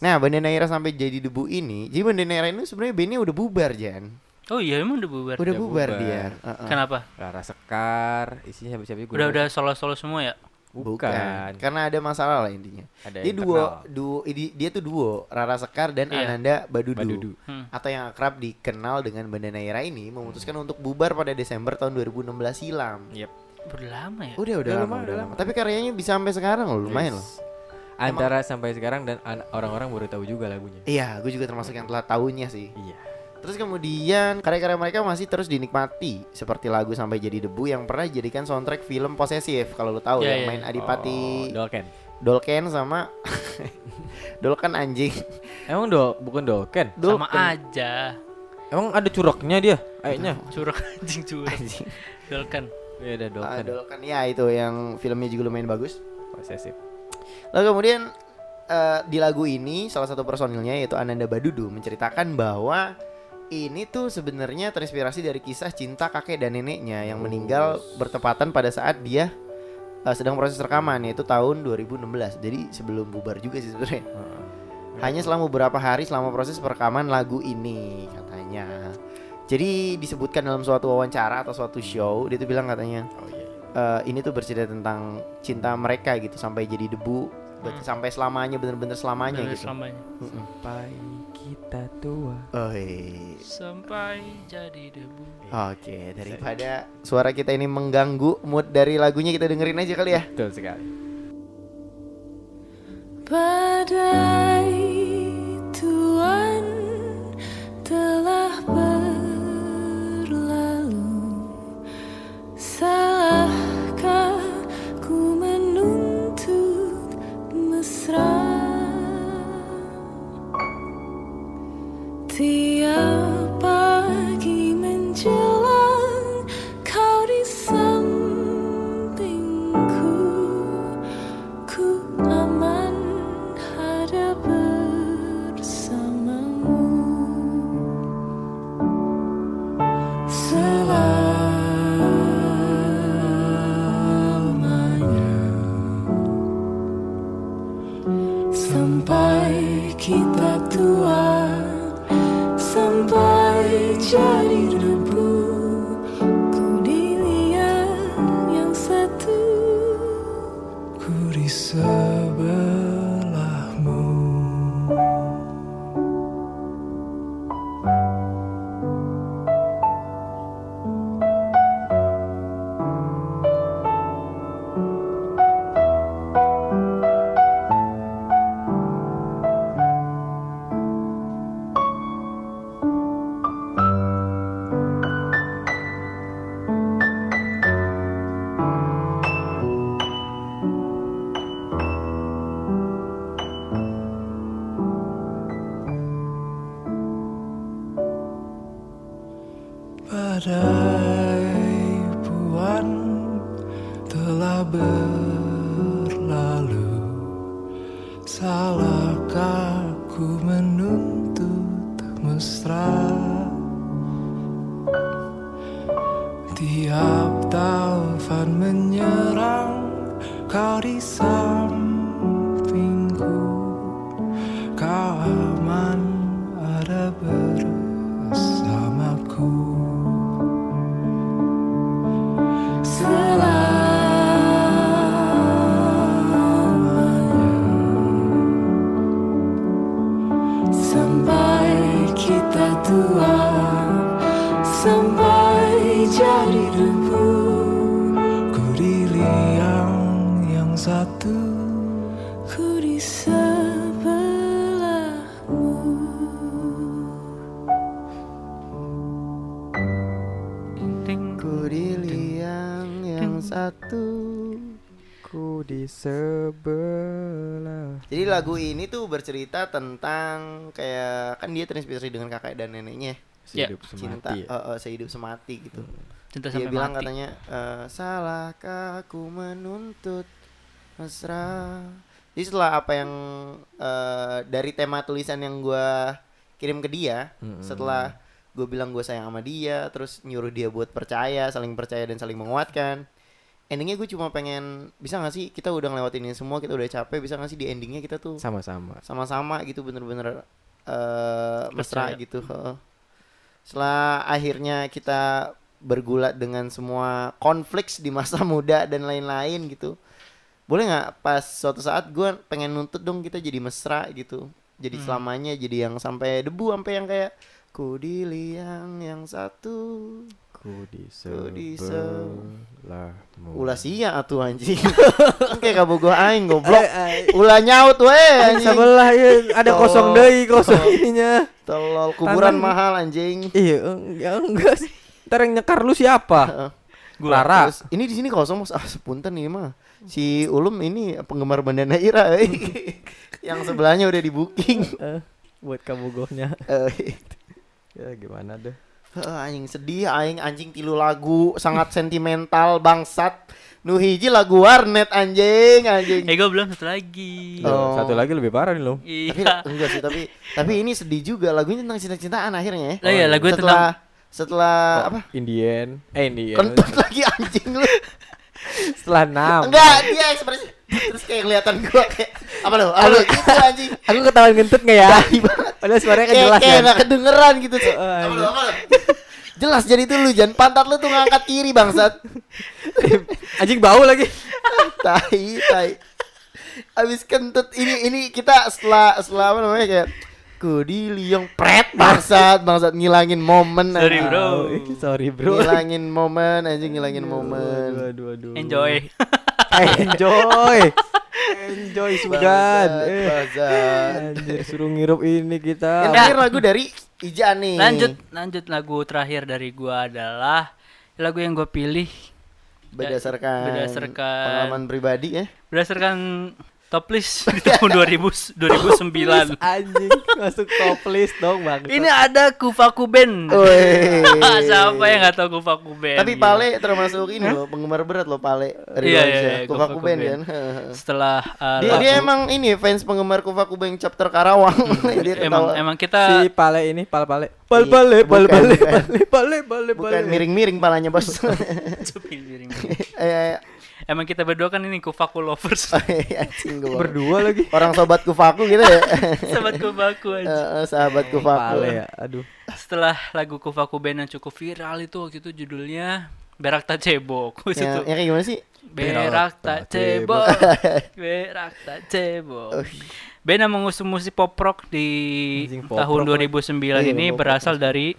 [SPEAKER 1] Nah Banda Naira sampai jadi debu ini jadi Banda Naira ini sebenarnya bandnya udah bubar Jan
[SPEAKER 2] Oh iya emang udah bubar.
[SPEAKER 1] udah bubar,
[SPEAKER 3] bubar.
[SPEAKER 1] dia Heeh.
[SPEAKER 2] Kenapa?
[SPEAKER 3] Rara sekar, isinya siapa-siapa juga.
[SPEAKER 2] Udah udah solo-solo semua ya?
[SPEAKER 3] bukan.
[SPEAKER 1] karena ada masalah lah intinya
[SPEAKER 3] Ada
[SPEAKER 1] dia duo
[SPEAKER 3] internal.
[SPEAKER 1] duo ini- dia tuh duo Rara Sekar dan
[SPEAKER 2] Iya.
[SPEAKER 1] Ananda Badudu,
[SPEAKER 3] Badudu.
[SPEAKER 2] Hmm.
[SPEAKER 1] atau yang akrab dikenal dengan Banda Naira ini memutuskan untuk bubar pada Desember tahun 2016 silam
[SPEAKER 3] Yep.
[SPEAKER 2] Udah lama ya?
[SPEAKER 1] Udah udah
[SPEAKER 3] Udah
[SPEAKER 1] lama,
[SPEAKER 3] lama,
[SPEAKER 1] udah
[SPEAKER 3] udah
[SPEAKER 1] lama. Tapi karyanya bisa sampai sekarang loh, lumayan loh.
[SPEAKER 3] Antara sampai sekarang dan an- orang-orang baru tahu juga lagunya.
[SPEAKER 1] Iya, gue juga termasuk yang telat tahunnya sih.
[SPEAKER 3] Iya.
[SPEAKER 1] Terus kemudian karya-karya mereka masih terus dinikmati seperti lagu sampai jadi debu yang pernah dijadikan soundtrack film posesif kalau lo tahu
[SPEAKER 2] Iya,
[SPEAKER 1] yang
[SPEAKER 2] iya,
[SPEAKER 1] main Adipati
[SPEAKER 3] Oh, Dolken.
[SPEAKER 1] Dolken sama Dolken anjing.
[SPEAKER 3] Emang do bukan Dolken.
[SPEAKER 1] Dolken.
[SPEAKER 2] Sama aja.
[SPEAKER 3] Emang ada curoknya dia, kayaknya.
[SPEAKER 2] Curang anjing curang. Dolken.
[SPEAKER 3] Iya, ada
[SPEAKER 1] Ah,
[SPEAKER 3] Dolken.
[SPEAKER 1] Dolken ya itu yang filmnya juga lumayan bagus.
[SPEAKER 3] Posesif.
[SPEAKER 1] Lalu kemudian eh, di lagu ini salah satu personilnya yaitu Ananda Badudu menceritakan bahwa ini tuh sebenarnya terinspirasi dari kisah cinta kakek dan neneknya yang meninggal bertepatan pada saat dia eh, sedang proses rekaman yaitu tahun 2016. Jadi sebelum bubar juga sih sebenarnya. Hanya selama beberapa hari selama proses perekaman lagu ini katanya. Jadi disebutkan dalam suatu wawancara atau suatu show dia tuh bilang katanya
[SPEAKER 4] Oh iya.
[SPEAKER 1] eh, ini tuh bercerita tentang cinta mereka gitu sampai jadi debu ber-
[SPEAKER 4] Hmm.
[SPEAKER 1] sampai selamanya bener-bener selamanya
[SPEAKER 2] Dari
[SPEAKER 1] gitu. Oh,
[SPEAKER 2] selamanya.
[SPEAKER 4] Sampai kita tua.
[SPEAKER 1] iya, Oi.
[SPEAKER 4] Iya.
[SPEAKER 2] Sampai jadi debu.
[SPEAKER 1] Oke, daripada suara kita ini mengganggu mood dari lagunya kita dengerin aja kali ya.
[SPEAKER 4] Betul sekali.
[SPEAKER 5] Badai Tuhan telah berlalu Salahkah ku menuntut mesra Tiap pagi menjelang kau di sampingku Ku aman ada bersamamu selamanya sampai kita tua, sampai jadi debu. Ku dilihat yang satu.
[SPEAKER 6] Ku di sebelahmu Badai puan telah berlalu Salahkah ku menuntut mesra Tiap taufan menyerang Kau di sampingku Kau aman ada bersamaku
[SPEAKER 5] Selamanya Sampai kita tua Sampai jadi debu
[SPEAKER 6] Ku di liang yang satu
[SPEAKER 5] Ku di sebelahmu
[SPEAKER 1] Ku di liang yang satu.
[SPEAKER 4] Ku di sebelah.
[SPEAKER 1] Jadi lagu ini tuh bercerita tentang kayak kan dia terinspirasi dengan kakek dan neneknya
[SPEAKER 2] Ya.
[SPEAKER 4] Hidup
[SPEAKER 1] cinta
[SPEAKER 4] semati.
[SPEAKER 1] eh, eh, sehidup semati gitu.
[SPEAKER 2] Cinta
[SPEAKER 1] Dia
[SPEAKER 2] sampai
[SPEAKER 1] bilang
[SPEAKER 2] mati.
[SPEAKER 1] katanya eh, salahkah aku menuntut mesra. Jadi setelah apa yang eh, dari tema tulisan yang gua kirim ke dia, setelah gue bilang gue sayang sama dia, terus nyuruh dia buat percaya, saling percaya dan saling menguatkan. Endingnya gue cuma pengen bisa gak sih kita udah ngelewatin ini semua, kita udah capek, bisa gak sih di endingnya kita tuh
[SPEAKER 4] Sama-sama.
[SPEAKER 1] sama-sama gitu bener-bener eh mesra
[SPEAKER 2] Percaya.
[SPEAKER 1] gitu. heeh. Setelah akhirnya kita bergulat dengan semua konflik di masa muda dan lain-lain gitu. Boleh nggak pas suatu saat gue pengen nuntut dong kita jadi mesra gitu. Jadi selamanya jadi yang sampai debu sampai yang kayak ku di liang yang satu
[SPEAKER 4] Ku di
[SPEAKER 1] Ku di sebelahmu.
[SPEAKER 4] sebelahmu.
[SPEAKER 1] ulah sia atuh anjing Kan kayak kabu gua aing goblok ulah nyaut weh anjing
[SPEAKER 4] Sebelah ya ada
[SPEAKER 1] Eh, Tolong.
[SPEAKER 4] kosong deui kosong
[SPEAKER 1] Tolong.
[SPEAKER 4] ininya.
[SPEAKER 1] tolol kuburan
[SPEAKER 4] Tangan.
[SPEAKER 1] mahal anjing
[SPEAKER 4] Iya, enggak enggak. Ntar yang nyekar lu siapa?
[SPEAKER 1] Heeh.
[SPEAKER 4] Rara.
[SPEAKER 1] Terus, ini di sini kosong mas. Ah sepunten ini mah. Si Ulum ini penggemar Bandana Ira. eh. yang sebelahnya udah di booking.
[SPEAKER 4] buat kamu gohnya.
[SPEAKER 1] Eh,
[SPEAKER 4] Ya gimana deh.
[SPEAKER 1] Heuh, Eh, anjing sedih, aing anjing tilu lagu sangat sentimental bangsat. Nu hiji lagu warnet anjing, anjing.
[SPEAKER 2] Eh gue belum satu lagi.
[SPEAKER 1] Oh.
[SPEAKER 3] Loh, Satu lagi lebih parah nih lo.
[SPEAKER 1] tapi
[SPEAKER 2] Iya.
[SPEAKER 1] enggak sih, tapi tapi ini sedih juga lagunya tentang cinta-cintaan akhirnya ya.
[SPEAKER 2] Lah iya, lagunya Oh,
[SPEAKER 1] setelah, setelah apa?
[SPEAKER 3] Indian. Eh
[SPEAKER 2] iya,
[SPEAKER 3] Indian.
[SPEAKER 1] Kentut lagi anjing lu.
[SPEAKER 3] Setelah enam.
[SPEAKER 1] Enggak, dia ekspresi terus kayak kelihatan gua kayak apa lu? Apa lu gitu anjing.
[SPEAKER 3] Aku ketahuan ngentut nggak ya? Padahal suaranya kan
[SPEAKER 1] Kayak
[SPEAKER 3] jelas
[SPEAKER 1] kayak
[SPEAKER 3] kan. Oh,
[SPEAKER 1] nggak kedengeran gitu.
[SPEAKER 3] Heeh,
[SPEAKER 1] Apa lu? Apa lu? Jelas jadi itu lu jangan pantat lu tuh ngangkat kiri bangsat.
[SPEAKER 3] Anjing bau lagi.
[SPEAKER 1] tai tai abis kentut ini ini kita setelah setelah apa namanya kayak ku di liong pret bangsat bangsat ngilangin momen
[SPEAKER 2] Sorry,
[SPEAKER 1] anjing.
[SPEAKER 2] bro.
[SPEAKER 3] Au, Oh, iya, Sorry bro.
[SPEAKER 1] ngilangin momen anjing ngilangin momen
[SPEAKER 3] Aduh, aduh, aduh.
[SPEAKER 2] Enjoy.
[SPEAKER 4] Eh,
[SPEAKER 3] Enjoy. Enjoy Sudan.
[SPEAKER 1] Bangsat,
[SPEAKER 3] Eh,
[SPEAKER 1] bangsat.
[SPEAKER 3] anjir, suruh ngirup ini
[SPEAKER 1] yang
[SPEAKER 3] kita.
[SPEAKER 1] terakhir lagu dari Ija nih
[SPEAKER 2] Lanjut, lanjut lagu terakhir dari gua adalah lagu yang gua pilih
[SPEAKER 1] berdasarkan
[SPEAKER 2] Berdasarkan-
[SPEAKER 1] pengalaman pribadi ya
[SPEAKER 2] berdasarkan top list di tahun 2000 2009.
[SPEAKER 3] Anjing masuk top list dong bang.
[SPEAKER 2] Ini ada Kufaku Band.
[SPEAKER 1] Woi.
[SPEAKER 2] Siapa yang nggak tahu Kufaku Band? ya.
[SPEAKER 1] tapi Pale termasuk ini loh penggemar berat loh Pale dari
[SPEAKER 2] Iya,
[SPEAKER 1] yeah,
[SPEAKER 2] iya, iya,
[SPEAKER 1] Kufaku
[SPEAKER 2] Kufaku
[SPEAKER 1] Band
[SPEAKER 2] Band.
[SPEAKER 1] kan Heeh.
[SPEAKER 2] Setelah uh,
[SPEAKER 1] Dia,
[SPEAKER 2] lagu-
[SPEAKER 1] dia emang ini fans penggemar Kufaku Bang chapter Karawang. dia
[SPEAKER 2] emang
[SPEAKER 1] ketawa.
[SPEAKER 2] emang
[SPEAKER 3] si
[SPEAKER 2] kita
[SPEAKER 3] pale ini pale pale pale pale pale
[SPEAKER 1] bukan,
[SPEAKER 3] pale
[SPEAKER 1] bukan.
[SPEAKER 3] pale pale pale
[SPEAKER 1] bukan
[SPEAKER 3] pale
[SPEAKER 1] miring-miring palanya, Bos. eh
[SPEAKER 2] emang kita berdua kan ini Kufaku lovers.
[SPEAKER 1] anjing gua.
[SPEAKER 3] berdua lagi
[SPEAKER 1] Orang sobat Kufaku gitu ya.
[SPEAKER 2] Sobat Kufaku aja.
[SPEAKER 1] Eh, eh, sahabat Kufaku.
[SPEAKER 3] pale ya aduh
[SPEAKER 2] setelah lagu Kufaku Band yang cukup viral itu waktu itu judulnya Berak Tak Cebok. Wes
[SPEAKER 1] Yang,
[SPEAKER 2] itu.
[SPEAKER 1] yang Ya, kayak gimana sih?
[SPEAKER 2] Berak Tak
[SPEAKER 3] Tak
[SPEAKER 2] Cebok. Berak Tak Cebok. Band yang mengusung musik pop rock di
[SPEAKER 3] Anjing, pop
[SPEAKER 2] tahun
[SPEAKER 3] rock
[SPEAKER 2] 2009
[SPEAKER 1] Iya,
[SPEAKER 2] ini
[SPEAKER 1] pop rock
[SPEAKER 2] berasal dari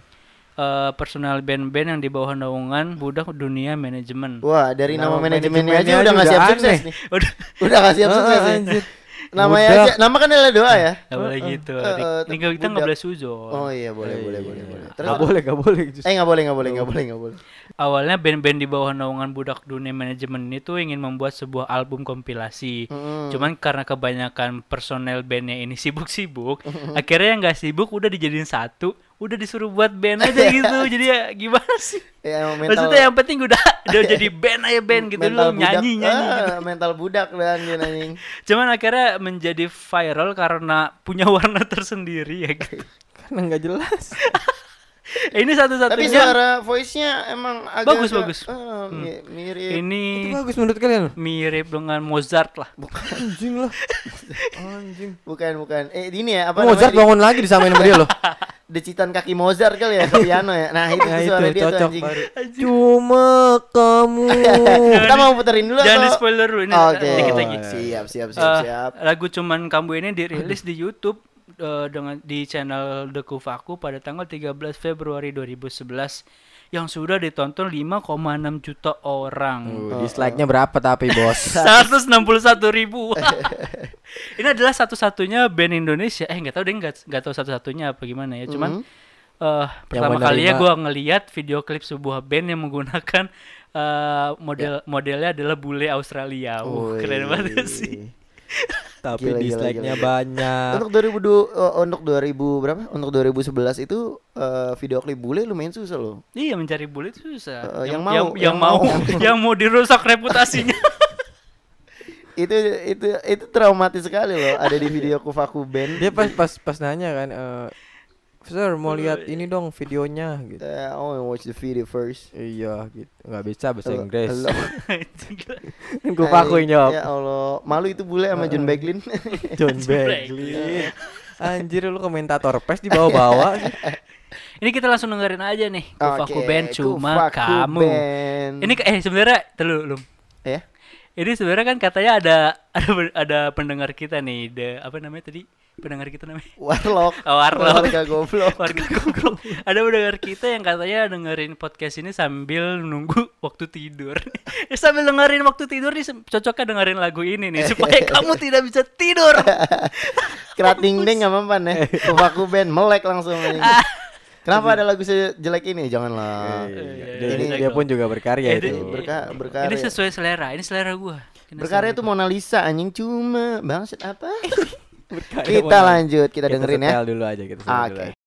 [SPEAKER 2] eh, personal band-band yang di bawah naungan Budak Dunia Manajemen.
[SPEAKER 1] Wah, dari nama,
[SPEAKER 3] Nama
[SPEAKER 1] manajemennya aja
[SPEAKER 3] manajemennya
[SPEAKER 1] udah nggak
[SPEAKER 3] juga
[SPEAKER 1] siap sukses
[SPEAKER 3] aneh.
[SPEAKER 1] nih.
[SPEAKER 2] Udah,
[SPEAKER 1] Udah nggak siap
[SPEAKER 3] Ah,
[SPEAKER 1] sukses nih.
[SPEAKER 3] anjir.
[SPEAKER 1] Namanya
[SPEAKER 3] Budak.
[SPEAKER 1] aja, nama kan adalah doa ya.
[SPEAKER 2] nggak boleh gitu.
[SPEAKER 1] eh,
[SPEAKER 2] Dik.
[SPEAKER 1] eh,
[SPEAKER 2] Ini kita
[SPEAKER 1] budak.
[SPEAKER 2] nggak boleh suzon.
[SPEAKER 1] Oh iya, boleh, boleh, boleh, boleh. Terus
[SPEAKER 3] nggak boleh nggak boleh justru.
[SPEAKER 1] Eh nggak boleh, nggak boleh, nggak boleh, nggak boleh.
[SPEAKER 2] Awalnya band-band di bawah naungan Budak Dunia Manajemen itu ingin membuat sebuah album kompilasi.
[SPEAKER 1] Mm-mm.
[SPEAKER 2] Cuman karena kebanyakan personel bandnya ini sibuk-sibuk, akhirnya yang nggak sibuk udah dijadiin satu, udah disuruh buat band aja gitu. Jadi ya gimana sih?
[SPEAKER 1] Ya, emang mental-
[SPEAKER 2] Maksudnya yang penting udah udah jadi band aja band gitu lu nyanyi
[SPEAKER 1] budak.
[SPEAKER 2] nyanyi.
[SPEAKER 1] Ah,
[SPEAKER 2] gitu.
[SPEAKER 1] mental budak dan dia anjing.
[SPEAKER 2] Cuman akhirnya menjadi viral karena punya warna tersendiri ya gitu.
[SPEAKER 3] karena nggak jelas
[SPEAKER 2] Ini
[SPEAKER 1] Tapi
[SPEAKER 2] satu-satunya.
[SPEAKER 1] suara voice-nya emang agak
[SPEAKER 2] Bagus, bagus. Hmm.
[SPEAKER 1] eh, mi- mirip.
[SPEAKER 3] itu
[SPEAKER 2] Ini
[SPEAKER 3] bagus menurut kalian loh
[SPEAKER 2] mirip dengan Mozart lah.
[SPEAKER 3] anjing lah anjing
[SPEAKER 1] Bukan, bukan. Eh ini ya apa
[SPEAKER 3] Mozart
[SPEAKER 1] namanya?
[SPEAKER 3] bangun lagi disamain sama dia loh
[SPEAKER 1] Di- Decitan kaki Mozart kali ya, piano ya. Nah, itu,
[SPEAKER 3] nah
[SPEAKER 1] tuh
[SPEAKER 3] itu
[SPEAKER 1] suara dia tuh
[SPEAKER 3] cocok
[SPEAKER 1] anjing. Eh,
[SPEAKER 3] baru cuma kamu
[SPEAKER 1] Kita mau puterin dulu
[SPEAKER 2] Jangan di
[SPEAKER 1] atau-
[SPEAKER 2] spoiler dulu ini
[SPEAKER 1] Oke.
[SPEAKER 2] dikit lagi.
[SPEAKER 1] Siap, siap, siap,
[SPEAKER 2] Eh,
[SPEAKER 1] siap.
[SPEAKER 2] lagu cuman kamu ini dirilis di YouTube eh, dengan di channel The Kufaku pada tanggal 13 Februari 2011 yang sudah ditonton 5,6 juta orang.
[SPEAKER 3] Uh, dislike-nya berapa tapi bos
[SPEAKER 2] 161 ribu. ini adalah satu-satunya band Indonesia. Eh nggak tahu deh nggak nggak tahu satu-satunya apa gimana ya.
[SPEAKER 1] Mhm.
[SPEAKER 2] Cuman eh, pertama
[SPEAKER 3] menerima-
[SPEAKER 2] kalinya gue ngeliat video klip sebuah band yang menggunakan eh,
[SPEAKER 1] Ya.
[SPEAKER 2] model modelnya adalah bule Australia. Wuh, keren banget sih.
[SPEAKER 3] tapi
[SPEAKER 1] Gila, gila,
[SPEAKER 3] dislike-nya
[SPEAKER 1] gila.
[SPEAKER 3] banyak
[SPEAKER 1] Untuk 2000 eh, untuk 2000 berapa? Untuk 2011 itu eh, video klip bule lumayan susah loh.
[SPEAKER 2] Iya mencari bule itu susah.
[SPEAKER 1] Eh, yang
[SPEAKER 2] yang,
[SPEAKER 1] mau,
[SPEAKER 2] yang
[SPEAKER 1] yang
[SPEAKER 2] mau,
[SPEAKER 1] mau.
[SPEAKER 2] yang mau dirusak reputasinya.
[SPEAKER 1] Itu itu itu traumatis sekali loh ada di video Kufaku Band.
[SPEAKER 3] dia pas pas pas nanya kan eh sir mau lihat
[SPEAKER 1] iya.
[SPEAKER 3] ini dong videonya gitu
[SPEAKER 1] Eh, I wanna watch the video first.
[SPEAKER 3] iya gitu nggak bisa bahasa
[SPEAKER 1] Hello-
[SPEAKER 3] Inggris
[SPEAKER 1] hello.
[SPEAKER 3] kan gue pakuin jawab
[SPEAKER 1] Ya Allah, malu itu bule sama
[SPEAKER 3] Eh.
[SPEAKER 1] John Beglin.
[SPEAKER 3] John
[SPEAKER 1] Iya.
[SPEAKER 3] Beglin anjir lu komentator pes di bawah-bawah sih.
[SPEAKER 2] Ini kita langsung dengerin aja nih Kufaku
[SPEAKER 1] Oke,
[SPEAKER 2] Band cuma
[SPEAKER 1] Kufaku
[SPEAKER 2] kamu.
[SPEAKER 1] Band.
[SPEAKER 2] Ini ke- eh sebenarnya telu lum.
[SPEAKER 1] ya.
[SPEAKER 2] Ini sebenarnya kan katanya ada ada ada pendengar kita nih, the, apa namanya tadi? Pendengar kita namanya
[SPEAKER 1] Warlock.
[SPEAKER 2] Oh, Warlock.
[SPEAKER 1] Warga goblok.
[SPEAKER 2] warga goblok. ada pendengar kita yang katanya dengerin podcast ini sambil nunggu waktu tidur. Ya, sambil dengerin waktu tidur nih se- cocoknya dengerin lagu ini nih supaya kamu tidak bisa tidur.
[SPEAKER 1] Kerat ding ding sama pan ya. Kufaku band melek langsung anjing. Kenapa ada lagu sejelek ini? Janganlah.
[SPEAKER 3] Iya, dia,
[SPEAKER 1] iya.
[SPEAKER 3] dia- dia pun juga
[SPEAKER 2] Ini-
[SPEAKER 3] berkarya itu
[SPEAKER 1] Berka berkarya.
[SPEAKER 2] Ini sesuai selera, ini selera gua. Ini
[SPEAKER 1] ya. berkarya
[SPEAKER 2] selera
[SPEAKER 1] itu Mona Lisa anjing cuma bangsat apa?
[SPEAKER 3] Berkarya
[SPEAKER 1] kita
[SPEAKER 3] Mona Lisa. Ah, gitu
[SPEAKER 1] lanjut, kita dengerin ya.
[SPEAKER 3] setel dulu aja kita setel dulu
[SPEAKER 1] Oke.
[SPEAKER 3] aja.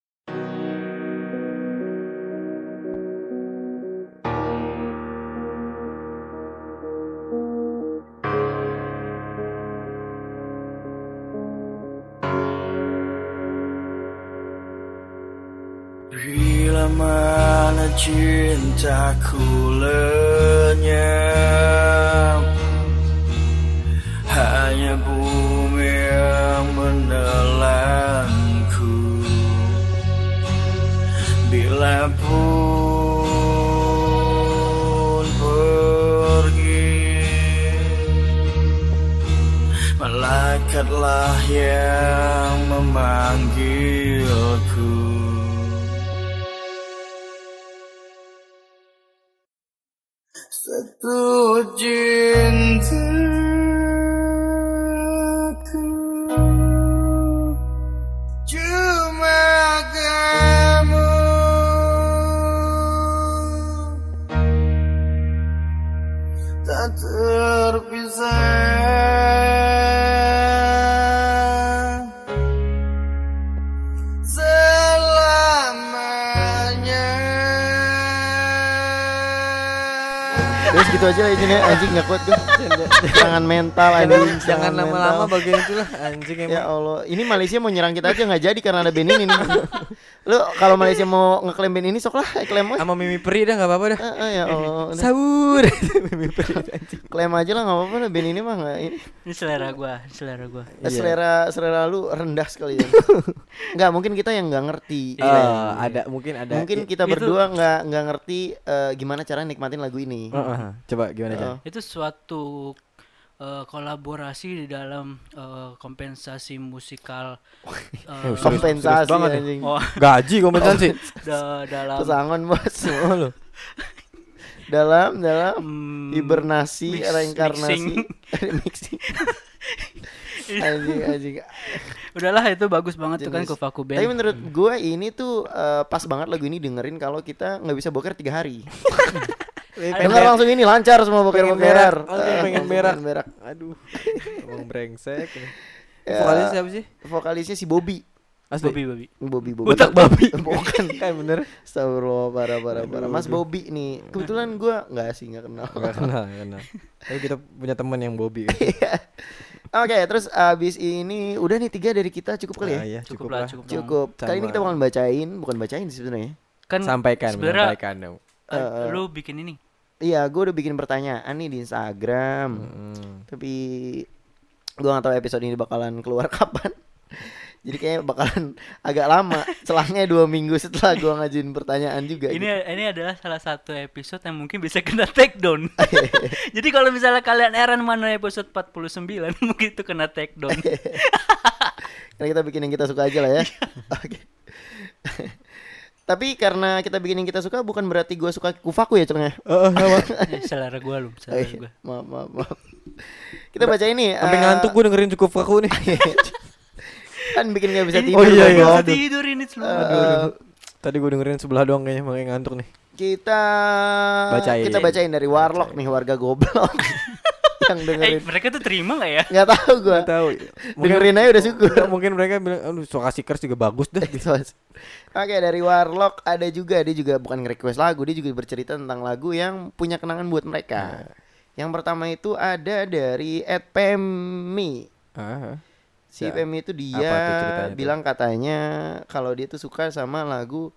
[SPEAKER 6] mana cintaku lenyap Hanya bumi yang menelanku Bila pun pergi Malaikatlah yang memanggilku Satu cintaku Cuma kamu tak terpisah selamanya.
[SPEAKER 1] Terus gitu aja lah ini anjing nggak kuat gue. Tangan mental anjing.
[SPEAKER 3] Jangan, jangan
[SPEAKER 1] tangan mental.
[SPEAKER 3] lama-lama bagian itulah anjing emang.
[SPEAKER 1] Ya Allah, ini Malaysia mau nyerang kita aja nggak jadi karena ada band ini. nih. Lu kalau Malaysia mau ngeklaim band ini sok lah, klaim aja.
[SPEAKER 3] Sama Mimi Peri dah enggak apa-apa dah.
[SPEAKER 1] Eh, eh, ya Allah, udah.
[SPEAKER 3] Sahur. Mimi Peri anjing.
[SPEAKER 1] klaim aja lah nggak apa-apa lah band ini mah nggak ini.
[SPEAKER 2] Ini selera gua, ini selera gua.
[SPEAKER 1] Eh,
[SPEAKER 3] Iya.
[SPEAKER 1] Selera selera lu rendah sekali ya. Nggak mungkin kita yang nggak ngerti. Iya.
[SPEAKER 3] Eh, ada mungkin ada
[SPEAKER 1] Mungkin kita berdua nggak nggak ngerti eh, gimana cara nikmatin lagu ini. Oh.
[SPEAKER 3] Eh, eh, coba gimana aja?
[SPEAKER 2] Itu suatu eh, kolaborasi di dalam eh, kompensasi musikal eh,
[SPEAKER 3] serius,
[SPEAKER 1] Kompensasi
[SPEAKER 3] serius banget ya.
[SPEAKER 1] anjing.
[SPEAKER 2] oh,
[SPEAKER 3] Gaji kompensasi.
[SPEAKER 2] da- dalam
[SPEAKER 1] Pesangon bos. dalam dalam
[SPEAKER 2] Hmm,
[SPEAKER 1] hibernasi
[SPEAKER 2] mix-
[SPEAKER 1] reinkarnasi mixing anjing anjing
[SPEAKER 2] udahlah itu bagus banget tuh kan
[SPEAKER 1] Jenis.
[SPEAKER 2] Kufaku Band.
[SPEAKER 1] tapi menurut
[SPEAKER 3] Hmm.
[SPEAKER 1] gue ini tuh eh, pas banget lagu ini dengerin kalau kita nggak bisa boker tiga hari denger langsung ini lancar semua boker
[SPEAKER 3] pengen
[SPEAKER 1] bokeran
[SPEAKER 3] berak, langsung pengen berak.
[SPEAKER 1] berak
[SPEAKER 3] Aduh. Emang brengsek.
[SPEAKER 1] Ya.
[SPEAKER 3] Vokalisnya siapa sih?
[SPEAKER 1] vokalisnya si Bobby
[SPEAKER 3] Asli.
[SPEAKER 2] Bobby Bobby.
[SPEAKER 1] Bobby Bobby
[SPEAKER 3] Botak babi.
[SPEAKER 1] bukan
[SPEAKER 3] kan bener.
[SPEAKER 1] Astagfirullah parah parah parah Mas
[SPEAKER 3] Aduh.
[SPEAKER 1] Bobby nih kebetulan gue nggak sih nggak kenal
[SPEAKER 3] Enggak kenal, nggak kenal. Tapi kita punya teman yang Bobby.
[SPEAKER 1] Oke, terus abis ini udah nih tiga dari kita cukup kali ya.
[SPEAKER 3] Ah, iya,
[SPEAKER 2] Cukup lah, cukup. dong.
[SPEAKER 1] Cukup. Kali ini
[SPEAKER 3] Sama.
[SPEAKER 1] kita bukan bacain, bukan bacain sih sebenarnya.
[SPEAKER 2] Kan
[SPEAKER 3] Sampaikan,
[SPEAKER 2] sebenarnya
[SPEAKER 3] sampaikan dong.
[SPEAKER 2] eh,
[SPEAKER 1] Eh,
[SPEAKER 2] lu bikin ini.
[SPEAKER 1] Iya, gue udah bikin pertanyaan nih di Instagram. Tapi gua nggak tahu episode ini bakalan keluar kapan. Jadi kayaknya bakalan agak lama. Celahnya dua minggu setelah gua ngajuin pertanyaan juga.
[SPEAKER 2] Ini
[SPEAKER 1] gitu.
[SPEAKER 2] ini adalah salah satu episode yang mungkin bisa kena take down. Jadi kalau misalnya kalian heran mana episode 49 mungkin itu kena take down.
[SPEAKER 1] Iya. Karena kita bikin yang kita suka aja lah ya.
[SPEAKER 3] Iya.
[SPEAKER 1] Oke. Tapi karena kita bikin yang kita suka bukan berarti gua suka kufaku ya celahnya.
[SPEAKER 3] Oh,
[SPEAKER 2] Eh, selera gua lu, selera
[SPEAKER 1] Oke,
[SPEAKER 2] gua.
[SPEAKER 1] Maaf, maaf, maaf. Kita baca ini.
[SPEAKER 3] Sampai
[SPEAKER 1] eh,
[SPEAKER 3] ngantuk gue dengerin cukup aku nih.
[SPEAKER 1] kan bikin gak bisa
[SPEAKER 2] Ini
[SPEAKER 1] tidur.
[SPEAKER 3] Oh iya,
[SPEAKER 2] gua
[SPEAKER 3] iya,
[SPEAKER 2] bisa
[SPEAKER 3] aduh.
[SPEAKER 2] tidur ini
[SPEAKER 1] Eh,
[SPEAKER 2] seluruh.
[SPEAKER 3] Tadi gue dengerin sebelah doang kayaknya makanya ngantuk nih.
[SPEAKER 1] kita
[SPEAKER 3] Bacain.
[SPEAKER 1] kita bacain dari Warlock nih warga goblok yang
[SPEAKER 2] eh,
[SPEAKER 1] dengerin.
[SPEAKER 2] mereka tuh terima gak ya?
[SPEAKER 1] Nggak tahu gua.
[SPEAKER 3] Nggak tahu.
[SPEAKER 1] Dengerin aja udah syukur.
[SPEAKER 3] Mungkin mereka bilang, aduh suara Seekers juga bagus dah.
[SPEAKER 1] Gitu, Mas. Oke dari Warlock ada juga dia juga bukan request lagu dia juga bercerita tentang lagu yang punya kenangan buat
[SPEAKER 3] Nah.
[SPEAKER 1] mereka. Yang pertama itu ada dari Ed Pemi.
[SPEAKER 3] Ah,
[SPEAKER 1] Si
[SPEAKER 3] Ya.
[SPEAKER 1] Pemi itu
[SPEAKER 3] Apa tuh
[SPEAKER 1] dia
[SPEAKER 3] ceritanya tuh?
[SPEAKER 1] bilang katanya kalau dia tuh suka sama lagu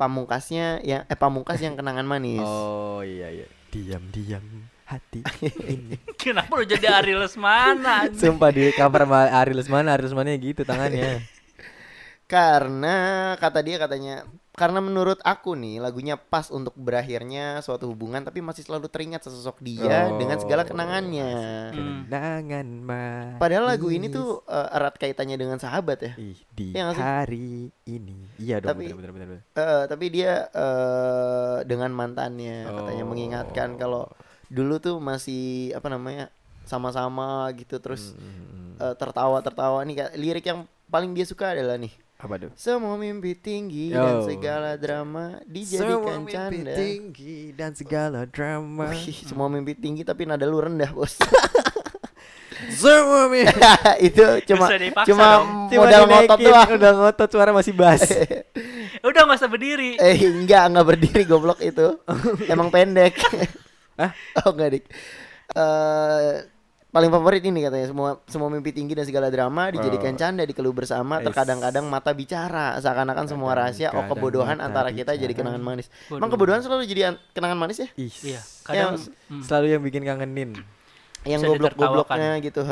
[SPEAKER 1] pamungkasnya yang eh pamungkas yang kenangan manis.
[SPEAKER 3] Oh iya iya. Diam-diam hati.
[SPEAKER 2] Kenapa lu jadi Ari Lesmana? anjing?
[SPEAKER 3] Sumpah di kamar sama Ari Lesmana, Ari Lesmana gitu tangannya.
[SPEAKER 2] Hmm.
[SPEAKER 1] Karena kata dia katanya karena menurut aku nih lagunya pas untuk berakhirnya suatu hubungan tapi masih selalu teringat sesosok dia
[SPEAKER 3] Oh,
[SPEAKER 1] dengan segala kenangannya.
[SPEAKER 2] Hmm.
[SPEAKER 3] Kenangan mah.
[SPEAKER 1] Padahal lagu ini tuh eh, erat kaitannya dengan sahabat ya.
[SPEAKER 3] Ih, di
[SPEAKER 1] Iya nggak sih?
[SPEAKER 3] hari ini. Iya dong,
[SPEAKER 1] Tapi-
[SPEAKER 3] bener, bener, bener, bener.
[SPEAKER 1] Eh, tapi dia eh, dengan mantannya katanya
[SPEAKER 3] Oh.
[SPEAKER 1] mengingatkan kalau dulu tuh masih apa namanya sama-sama gitu terus
[SPEAKER 3] Hmm,
[SPEAKER 1] eh, tertawa-tertawa nih Kak. lirik yang paling dia suka adalah nih
[SPEAKER 3] Apa tuh?
[SPEAKER 1] semua mimpi tinggi dan
[SPEAKER 3] Yo.
[SPEAKER 1] segala drama
[SPEAKER 3] Semua
[SPEAKER 1] dijadikan
[SPEAKER 3] mimpi
[SPEAKER 1] kan canda Oh.
[SPEAKER 3] tinggi dan segala drama.
[SPEAKER 1] Wih, semua mimpi tinggi tapi nada lu rendah bos
[SPEAKER 3] Semua mimpi.
[SPEAKER 1] itu cuma
[SPEAKER 2] Bisa dipaksa
[SPEAKER 1] cuma
[SPEAKER 2] dong.
[SPEAKER 1] modal ngotot doang
[SPEAKER 3] Udah ngotot suara masih bass.
[SPEAKER 2] Ya Udah gak usah berdiri.
[SPEAKER 1] eh enggak enggak berdiri goblok itu emang pendek
[SPEAKER 3] Hah?
[SPEAKER 1] oh enggak dik Eh, paling favorit ini katanya semua semua mimpi tinggi dan segala drama dijadikan canda dikeluh bersama
[SPEAKER 3] Ais.
[SPEAKER 1] terkadang-kadang mata bicara seakan-akan semua rahasia oh
[SPEAKER 3] Kadang-kadang
[SPEAKER 1] kebodohan
[SPEAKER 3] mata
[SPEAKER 1] antara kita jadi
[SPEAKER 3] bicara.
[SPEAKER 1] kenangan manis.
[SPEAKER 2] Waduh.
[SPEAKER 1] Emang kebodohan selalu jadi an- kenangan manis ya?
[SPEAKER 3] Ih,
[SPEAKER 2] Iya, kadang
[SPEAKER 1] Yang-
[SPEAKER 2] hmm.
[SPEAKER 3] selalu yang bikin kangenin.
[SPEAKER 1] Yang
[SPEAKER 2] Bisa
[SPEAKER 1] goblok-gobloknya gitu.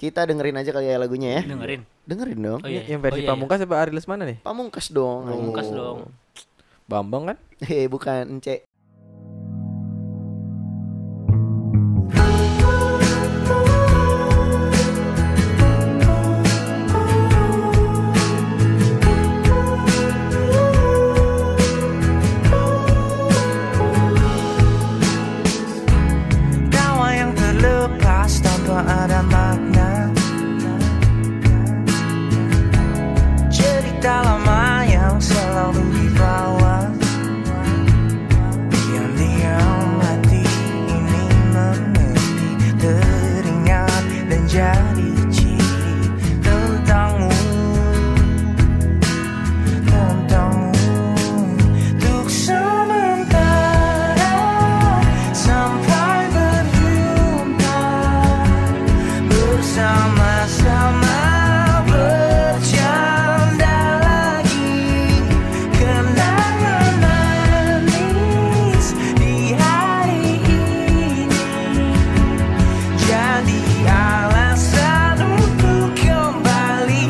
[SPEAKER 1] kita dengerin aja kali ya lagunya ya.
[SPEAKER 2] dengerin.
[SPEAKER 1] Dengerin dong.
[SPEAKER 2] Oh iya.
[SPEAKER 3] Yang versi
[SPEAKER 2] oh, iya, iya.
[SPEAKER 3] Pamungkas apa Ari Lesmana nih?
[SPEAKER 1] Pamungkas dong.
[SPEAKER 2] Pamungkas
[SPEAKER 1] anjing.
[SPEAKER 2] dong.
[SPEAKER 3] Bambang kan?
[SPEAKER 1] Eh bukan Ence.
[SPEAKER 4] Tawa yang terlepas tanpa ada makna Cerita lama yang selalu dibawa Diam-diam hati ini mengerti Teringat dan jadi ciri tentangmu Tentangmu Untuk sementara Sampai berjumpa Bersama-sama bercanda lagi Kenangan manis di hari ini Jadi alasan untuk kembali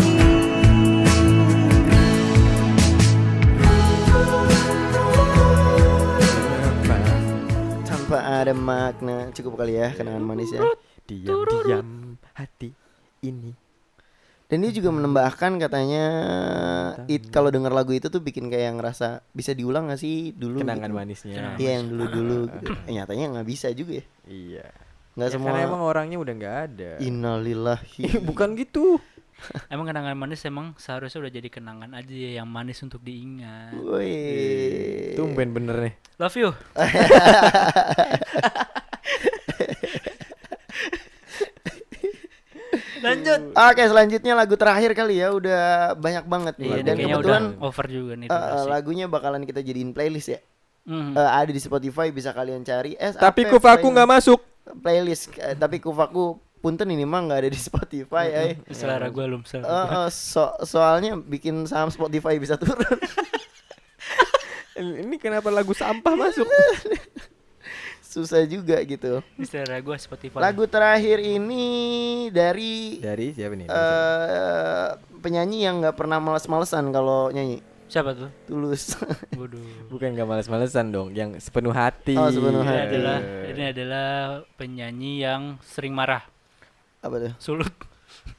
[SPEAKER 1] Tanpa ada makna cukup kali ya kenangan manis ya.
[SPEAKER 3] Diam-diam hati ini.
[SPEAKER 1] Dan dia juga menambahkan katanya it kalau denger lagu itu tuh bikin kayak ngerasa bisa diulang gak sih dulu
[SPEAKER 3] Kenangan
[SPEAKER 1] gitu.
[SPEAKER 3] manisnya.
[SPEAKER 1] Iya yang dulu-dulu gitu. Eh, nyatanya nggak bisa juga ya.
[SPEAKER 3] Iya.
[SPEAKER 1] Nggak
[SPEAKER 3] Ya,
[SPEAKER 1] semua
[SPEAKER 3] Karena emang orangnya udah nggak ada.
[SPEAKER 1] innalillahi.
[SPEAKER 3] Ih, Bukan gitu.
[SPEAKER 2] Emang kenangan manis emang seharusnya udah jadi kenangan aja ya, yang manis untuk diingat.
[SPEAKER 1] Woi. Iya.
[SPEAKER 3] Tumben bener nih.
[SPEAKER 2] Love you.
[SPEAKER 1] Ah,
[SPEAKER 2] Lanjut.
[SPEAKER 1] Oke, selanjutnya lagu terakhir kali ya. Udah banyak banget nih.
[SPEAKER 2] Iya,
[SPEAKER 1] Dan
[SPEAKER 2] kayaknya
[SPEAKER 1] kebetulan
[SPEAKER 2] udah over juga nih.
[SPEAKER 1] eh, eh,
[SPEAKER 2] durasi.
[SPEAKER 1] lagunya bakalan kita jadiin playlist ya.
[SPEAKER 2] Hmm.
[SPEAKER 1] Eh, ada di Spotify bisa kalian cari. SAP
[SPEAKER 3] Tapi kufaku nggak masuk.
[SPEAKER 1] playlist eh, tapi kufaku punten ini mah nggak ada di Spotify.
[SPEAKER 3] Hmm,
[SPEAKER 1] eh.
[SPEAKER 2] selera gue belum selera.
[SPEAKER 1] Eh,
[SPEAKER 2] gua.
[SPEAKER 1] eh, so- soalnya bikin saham Spotify bisa turun.
[SPEAKER 3] Ini kenapa lagu sampah masuk?
[SPEAKER 1] Susah juga gitu.
[SPEAKER 2] Ini selera gue Spotify.
[SPEAKER 1] Lagu terakhir ini dari
[SPEAKER 3] Dari siapa nih?
[SPEAKER 1] eh penyanyi yang nggak pernah males-malesan kalau nyanyi.
[SPEAKER 2] Siapa tuh?
[SPEAKER 1] Tulus.
[SPEAKER 2] Waduh.
[SPEAKER 3] Bukan nggak males-malesan dong, yang sepenuh hati. Eh.
[SPEAKER 1] Oh, sepenuh
[SPEAKER 2] Ini
[SPEAKER 1] hati.
[SPEAKER 2] adalah ini adalah penyanyi yang sering marah.
[SPEAKER 1] Apa tuh?
[SPEAKER 2] Sulut.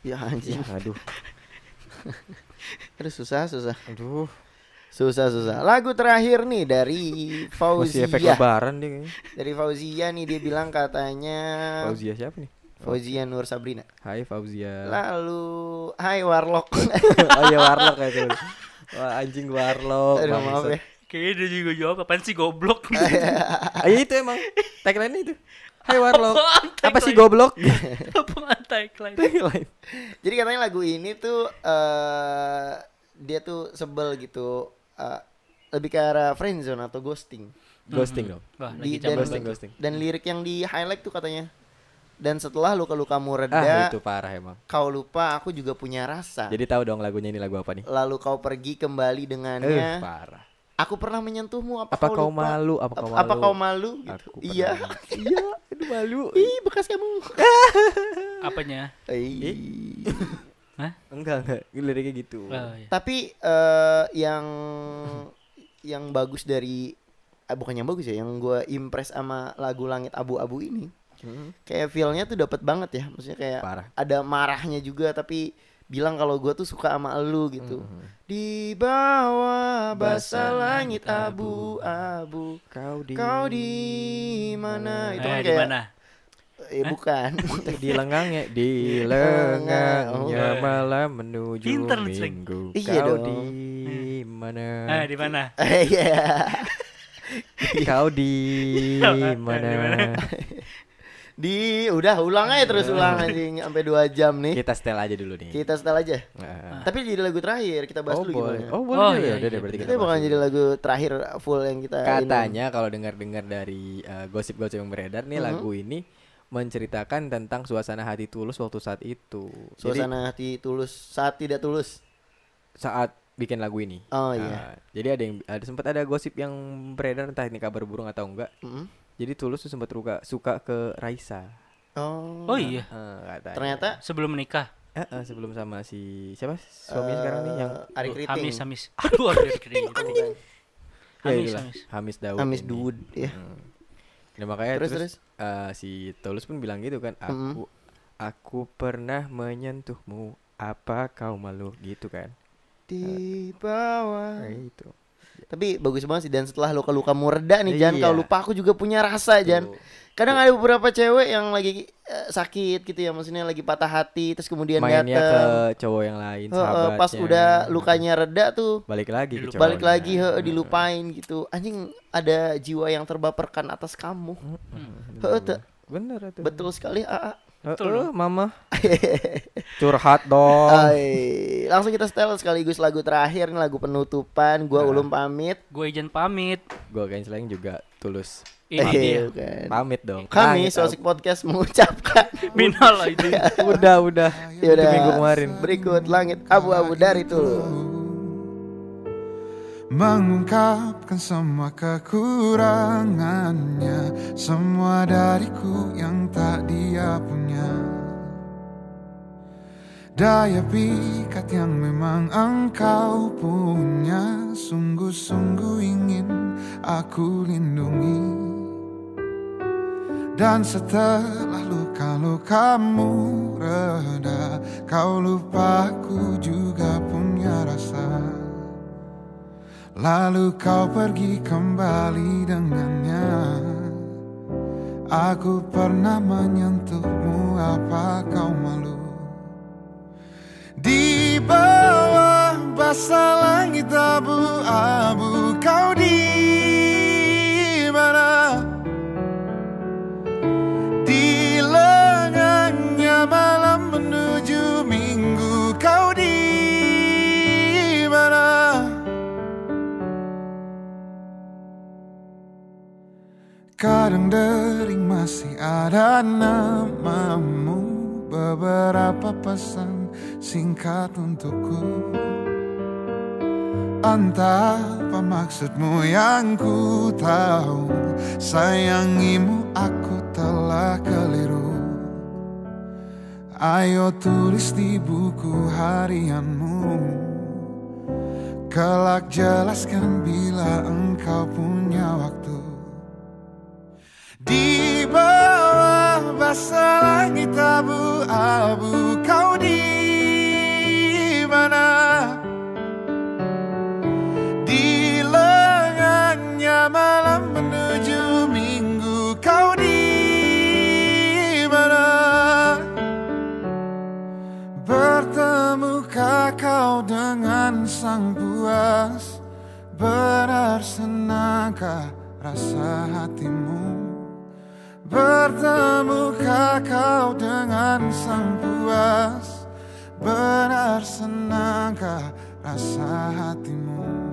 [SPEAKER 1] Ya anjing.
[SPEAKER 3] Ya, aduh.
[SPEAKER 1] Aduh susah, susah.
[SPEAKER 3] Aduh,
[SPEAKER 1] Susah, susah. Lagu terakhir nih dari
[SPEAKER 3] masih
[SPEAKER 1] Fauzia. Eh.
[SPEAKER 3] efek lebaran dia kayaknya.
[SPEAKER 1] Dari Fauzia nih dia bilang katanya
[SPEAKER 3] Fauzia Eh. siapa nih?
[SPEAKER 1] Fauzia Nur Sabrina.
[SPEAKER 3] Hai Fauzia.
[SPEAKER 1] Lalu Hai Warlock.
[SPEAKER 3] oh iya Warlock kayak itu. Wah, anjing Warlock.
[SPEAKER 1] Aduh maaf ya.
[SPEAKER 2] Kayaknya dia juga jawab apaan sih goblok.
[SPEAKER 3] Ayo Ah, iya, itu emang tagline itu. Hai Warlock.
[SPEAKER 2] Apaan
[SPEAKER 3] Apa sih
[SPEAKER 2] tagline?
[SPEAKER 3] goblok?
[SPEAKER 2] Apaan tagline?
[SPEAKER 3] tagline.
[SPEAKER 1] Jadi katanya lagu ini tuh eh dia tuh sebel gitu eh, lebih ke arah friendzone atau ghosting.
[SPEAKER 3] Ghosting dong.
[SPEAKER 2] Wah,
[SPEAKER 1] Di- dan,
[SPEAKER 2] lagi zaman
[SPEAKER 3] Ah, ghosting, ghosting.
[SPEAKER 1] dan lirik yang di highlight tuh katanya. Dan setelah luka-lukamu
[SPEAKER 3] Ah,
[SPEAKER 1] reda,
[SPEAKER 3] itu parah emang.
[SPEAKER 1] kau lupa aku juga punya rasa.
[SPEAKER 3] Jadi tahu dong lagunya ini lagu apa nih?
[SPEAKER 1] Lalu kau pergi kembali
[SPEAKER 3] Eh,
[SPEAKER 1] dengannya.
[SPEAKER 3] parah.
[SPEAKER 1] aku pernah menyentuhmu apa,
[SPEAKER 3] Apa kau
[SPEAKER 1] Oh, lupa?
[SPEAKER 3] malu? Apa kau
[SPEAKER 1] Apa
[SPEAKER 3] malu?
[SPEAKER 1] kau malu? Gitu.
[SPEAKER 3] Aku
[SPEAKER 1] Iya.
[SPEAKER 3] pernah- Iya, aduh malu.
[SPEAKER 1] Ih, bekas kamu.
[SPEAKER 2] apanya?
[SPEAKER 1] Ih.
[SPEAKER 2] Hah?
[SPEAKER 3] Enggak, enggak. Liriknya gitu.
[SPEAKER 2] Oh, iya.
[SPEAKER 1] Tapi eh yang yang bagus dari eh, bukan yang bagus ya, yang gue impress sama lagu Langit Abu-Abu ini. Kayak feel-nya tuh dapat banget ya. Maksudnya kayak
[SPEAKER 3] Parah.
[SPEAKER 1] ada marahnya juga tapi bilang kalau gue tuh suka sama elu gitu. Di bawah basah
[SPEAKER 3] Basah
[SPEAKER 1] langit
[SPEAKER 3] langit
[SPEAKER 1] abu-abu.
[SPEAKER 3] Kau di
[SPEAKER 1] Kau di mana? Itu
[SPEAKER 2] Eh,
[SPEAKER 1] kan
[SPEAKER 2] di
[SPEAKER 1] kayak
[SPEAKER 2] mana?
[SPEAKER 1] eh bukan.
[SPEAKER 3] di lenggangnya di
[SPEAKER 1] lengang. Oh.
[SPEAKER 3] lenggangnya malam menuju
[SPEAKER 2] Pinter lu, Ceng.
[SPEAKER 3] minggu
[SPEAKER 1] Iya
[SPEAKER 3] kau
[SPEAKER 1] dong.
[SPEAKER 3] di mana
[SPEAKER 2] Eh, di mana?
[SPEAKER 1] Eh, Iya.
[SPEAKER 3] kau di
[SPEAKER 2] Di
[SPEAKER 3] mana
[SPEAKER 2] mana?
[SPEAKER 1] Di udah ulang aja terus ulang anjing sampai dua jam nih.
[SPEAKER 3] Iya. kita setel aja dulu nih
[SPEAKER 1] Kita setel aja.
[SPEAKER 3] Nah.
[SPEAKER 1] Tapi jadi lagu terakhir kita bahas
[SPEAKER 3] oh
[SPEAKER 1] dulu
[SPEAKER 3] boleh
[SPEAKER 1] gimana.
[SPEAKER 3] oh boleh
[SPEAKER 2] Oh,
[SPEAKER 3] juga.
[SPEAKER 2] iya,
[SPEAKER 3] Udah
[SPEAKER 2] iya.
[SPEAKER 3] deh, berarti
[SPEAKER 1] kita
[SPEAKER 3] kita bahas
[SPEAKER 1] bukan jadi
[SPEAKER 3] dulu.
[SPEAKER 1] lagu terakhir full yang kita ini. Mm-hmm.
[SPEAKER 3] katanya kalau dengar-dengar dari eh, gosip-gosip yang beredar nih lagu ini menceritakan tentang suasana hati tulus waktu saat itu. Jadi,
[SPEAKER 1] Suasana hati tulus saat tidak tulus.
[SPEAKER 3] saat bikin lagu ini.
[SPEAKER 1] Oh, iya.
[SPEAKER 3] Nah, jadi ada yang ada sempat ada gosip yang beredar entah ini kabar burung atau enggak.
[SPEAKER 1] Mm-mm.
[SPEAKER 3] Jadi Tulus tuh sempat ruka, suka ke Raisa.
[SPEAKER 1] Oh.
[SPEAKER 2] Oh iya,
[SPEAKER 3] Eh, katanya.
[SPEAKER 1] Ternyata
[SPEAKER 2] sebelum menikah.
[SPEAKER 3] Eh, eh, sebelum sama si siapa suaminya sekarang nih yang
[SPEAKER 1] eh, Ari
[SPEAKER 2] Aduh,
[SPEAKER 1] Kriting.
[SPEAKER 2] Hamis, Hamis. Aduh, Ari Kriting.
[SPEAKER 3] Ya,
[SPEAKER 2] Hamis,
[SPEAKER 3] itulah,
[SPEAKER 2] Hamis.
[SPEAKER 3] Hamis Daud.
[SPEAKER 1] Eh, Hamis
[SPEAKER 3] ini.
[SPEAKER 1] Dude ya.
[SPEAKER 3] Nah, makanya
[SPEAKER 1] Terus,
[SPEAKER 3] terus,
[SPEAKER 1] terus.
[SPEAKER 3] eh, si Tulus pun bilang gitu kan,
[SPEAKER 1] Mm-mm.
[SPEAKER 3] aku aku pernah menyentuhmu, apa kau malu gitu kan.
[SPEAKER 1] Di bawah.
[SPEAKER 3] Nah, itu.
[SPEAKER 1] Tapi bagus banget sih dan setelah luka-luka mu reda nih Jan
[SPEAKER 3] Iya.
[SPEAKER 1] kau lupa aku juga punya rasa Jan.
[SPEAKER 3] Tuh.
[SPEAKER 1] Kadang ada beberapa cewek yang lagi eh, sakit gitu ya maksudnya lagi patah hati terus kemudian
[SPEAKER 3] Mainnya ke
[SPEAKER 1] datang.
[SPEAKER 3] cowok yang lain,
[SPEAKER 1] Heeh,
[SPEAKER 3] sahabatnya.
[SPEAKER 1] pas udah lukanya reda tuh
[SPEAKER 3] balik lagi ke
[SPEAKER 2] Dilupain.
[SPEAKER 1] balik
[SPEAKER 3] cowoknya.
[SPEAKER 1] lagi heeh, dilupain gitu. Anjing ada jiwa yang terbaperkan atas kamu. Heeh, tuh.
[SPEAKER 3] Bener itu.
[SPEAKER 1] betul sekali ah, AA.
[SPEAKER 3] Betul. mama.
[SPEAKER 1] Ah.
[SPEAKER 3] Curhat dong.
[SPEAKER 1] Hai,
[SPEAKER 3] Oh.
[SPEAKER 1] langsung kita setel sekaligus lagu terakhir nih lagu penutupan. Gua
[SPEAKER 3] Nah.
[SPEAKER 1] ulum pamit.
[SPEAKER 2] Gue izin pamit.
[SPEAKER 3] Gue Gainslang juga tulus.
[SPEAKER 2] Ini
[SPEAKER 1] Eh,
[SPEAKER 2] dia.
[SPEAKER 1] bukan.
[SPEAKER 3] Pamit dong. Nah, gitu.
[SPEAKER 1] Kami
[SPEAKER 3] Pamit,
[SPEAKER 1] Sosik Podcast mengucapkan
[SPEAKER 2] Minal izin.
[SPEAKER 3] Ab. Udah, udah.
[SPEAKER 1] Ya
[SPEAKER 3] Itu
[SPEAKER 1] udah.
[SPEAKER 3] minggu kemarin.
[SPEAKER 1] Berikut langit abu-abu dari Tulus.
[SPEAKER 5] Mengungkapkan semua kekurangannya Semua dariku yang tak dia punya Daya pikat yang memang engkau punya Sungguh-sungguh ingin aku lindungi dan setelah luka-lukamu reda Kau lupa aku juga punya rasa Lalu kau pergi kembali dengannya Aku pernah menyentuhmu apa kau malu Di bawah basah langit abu-abu Kau di mana Di lengannya malam menuju minggu Kau di mana Kadang dering masih ada namamu Beberapa pesan singkat untukku Entah apa maksudmu yang ku tahu Sayangimu aku telah keliru Ayo tulis di buku harianmu Kelak jelaskan bila engkau punya waktu Di bawah basah langit abu-abu Kau di mana? Di lengannya malam menuju minggu Kau di mana? Bertemukah kau dengan sang puas Berarsenakah rasa hatimu Bertemukah kau dengan sang puas Berarsenakah rasa hatimu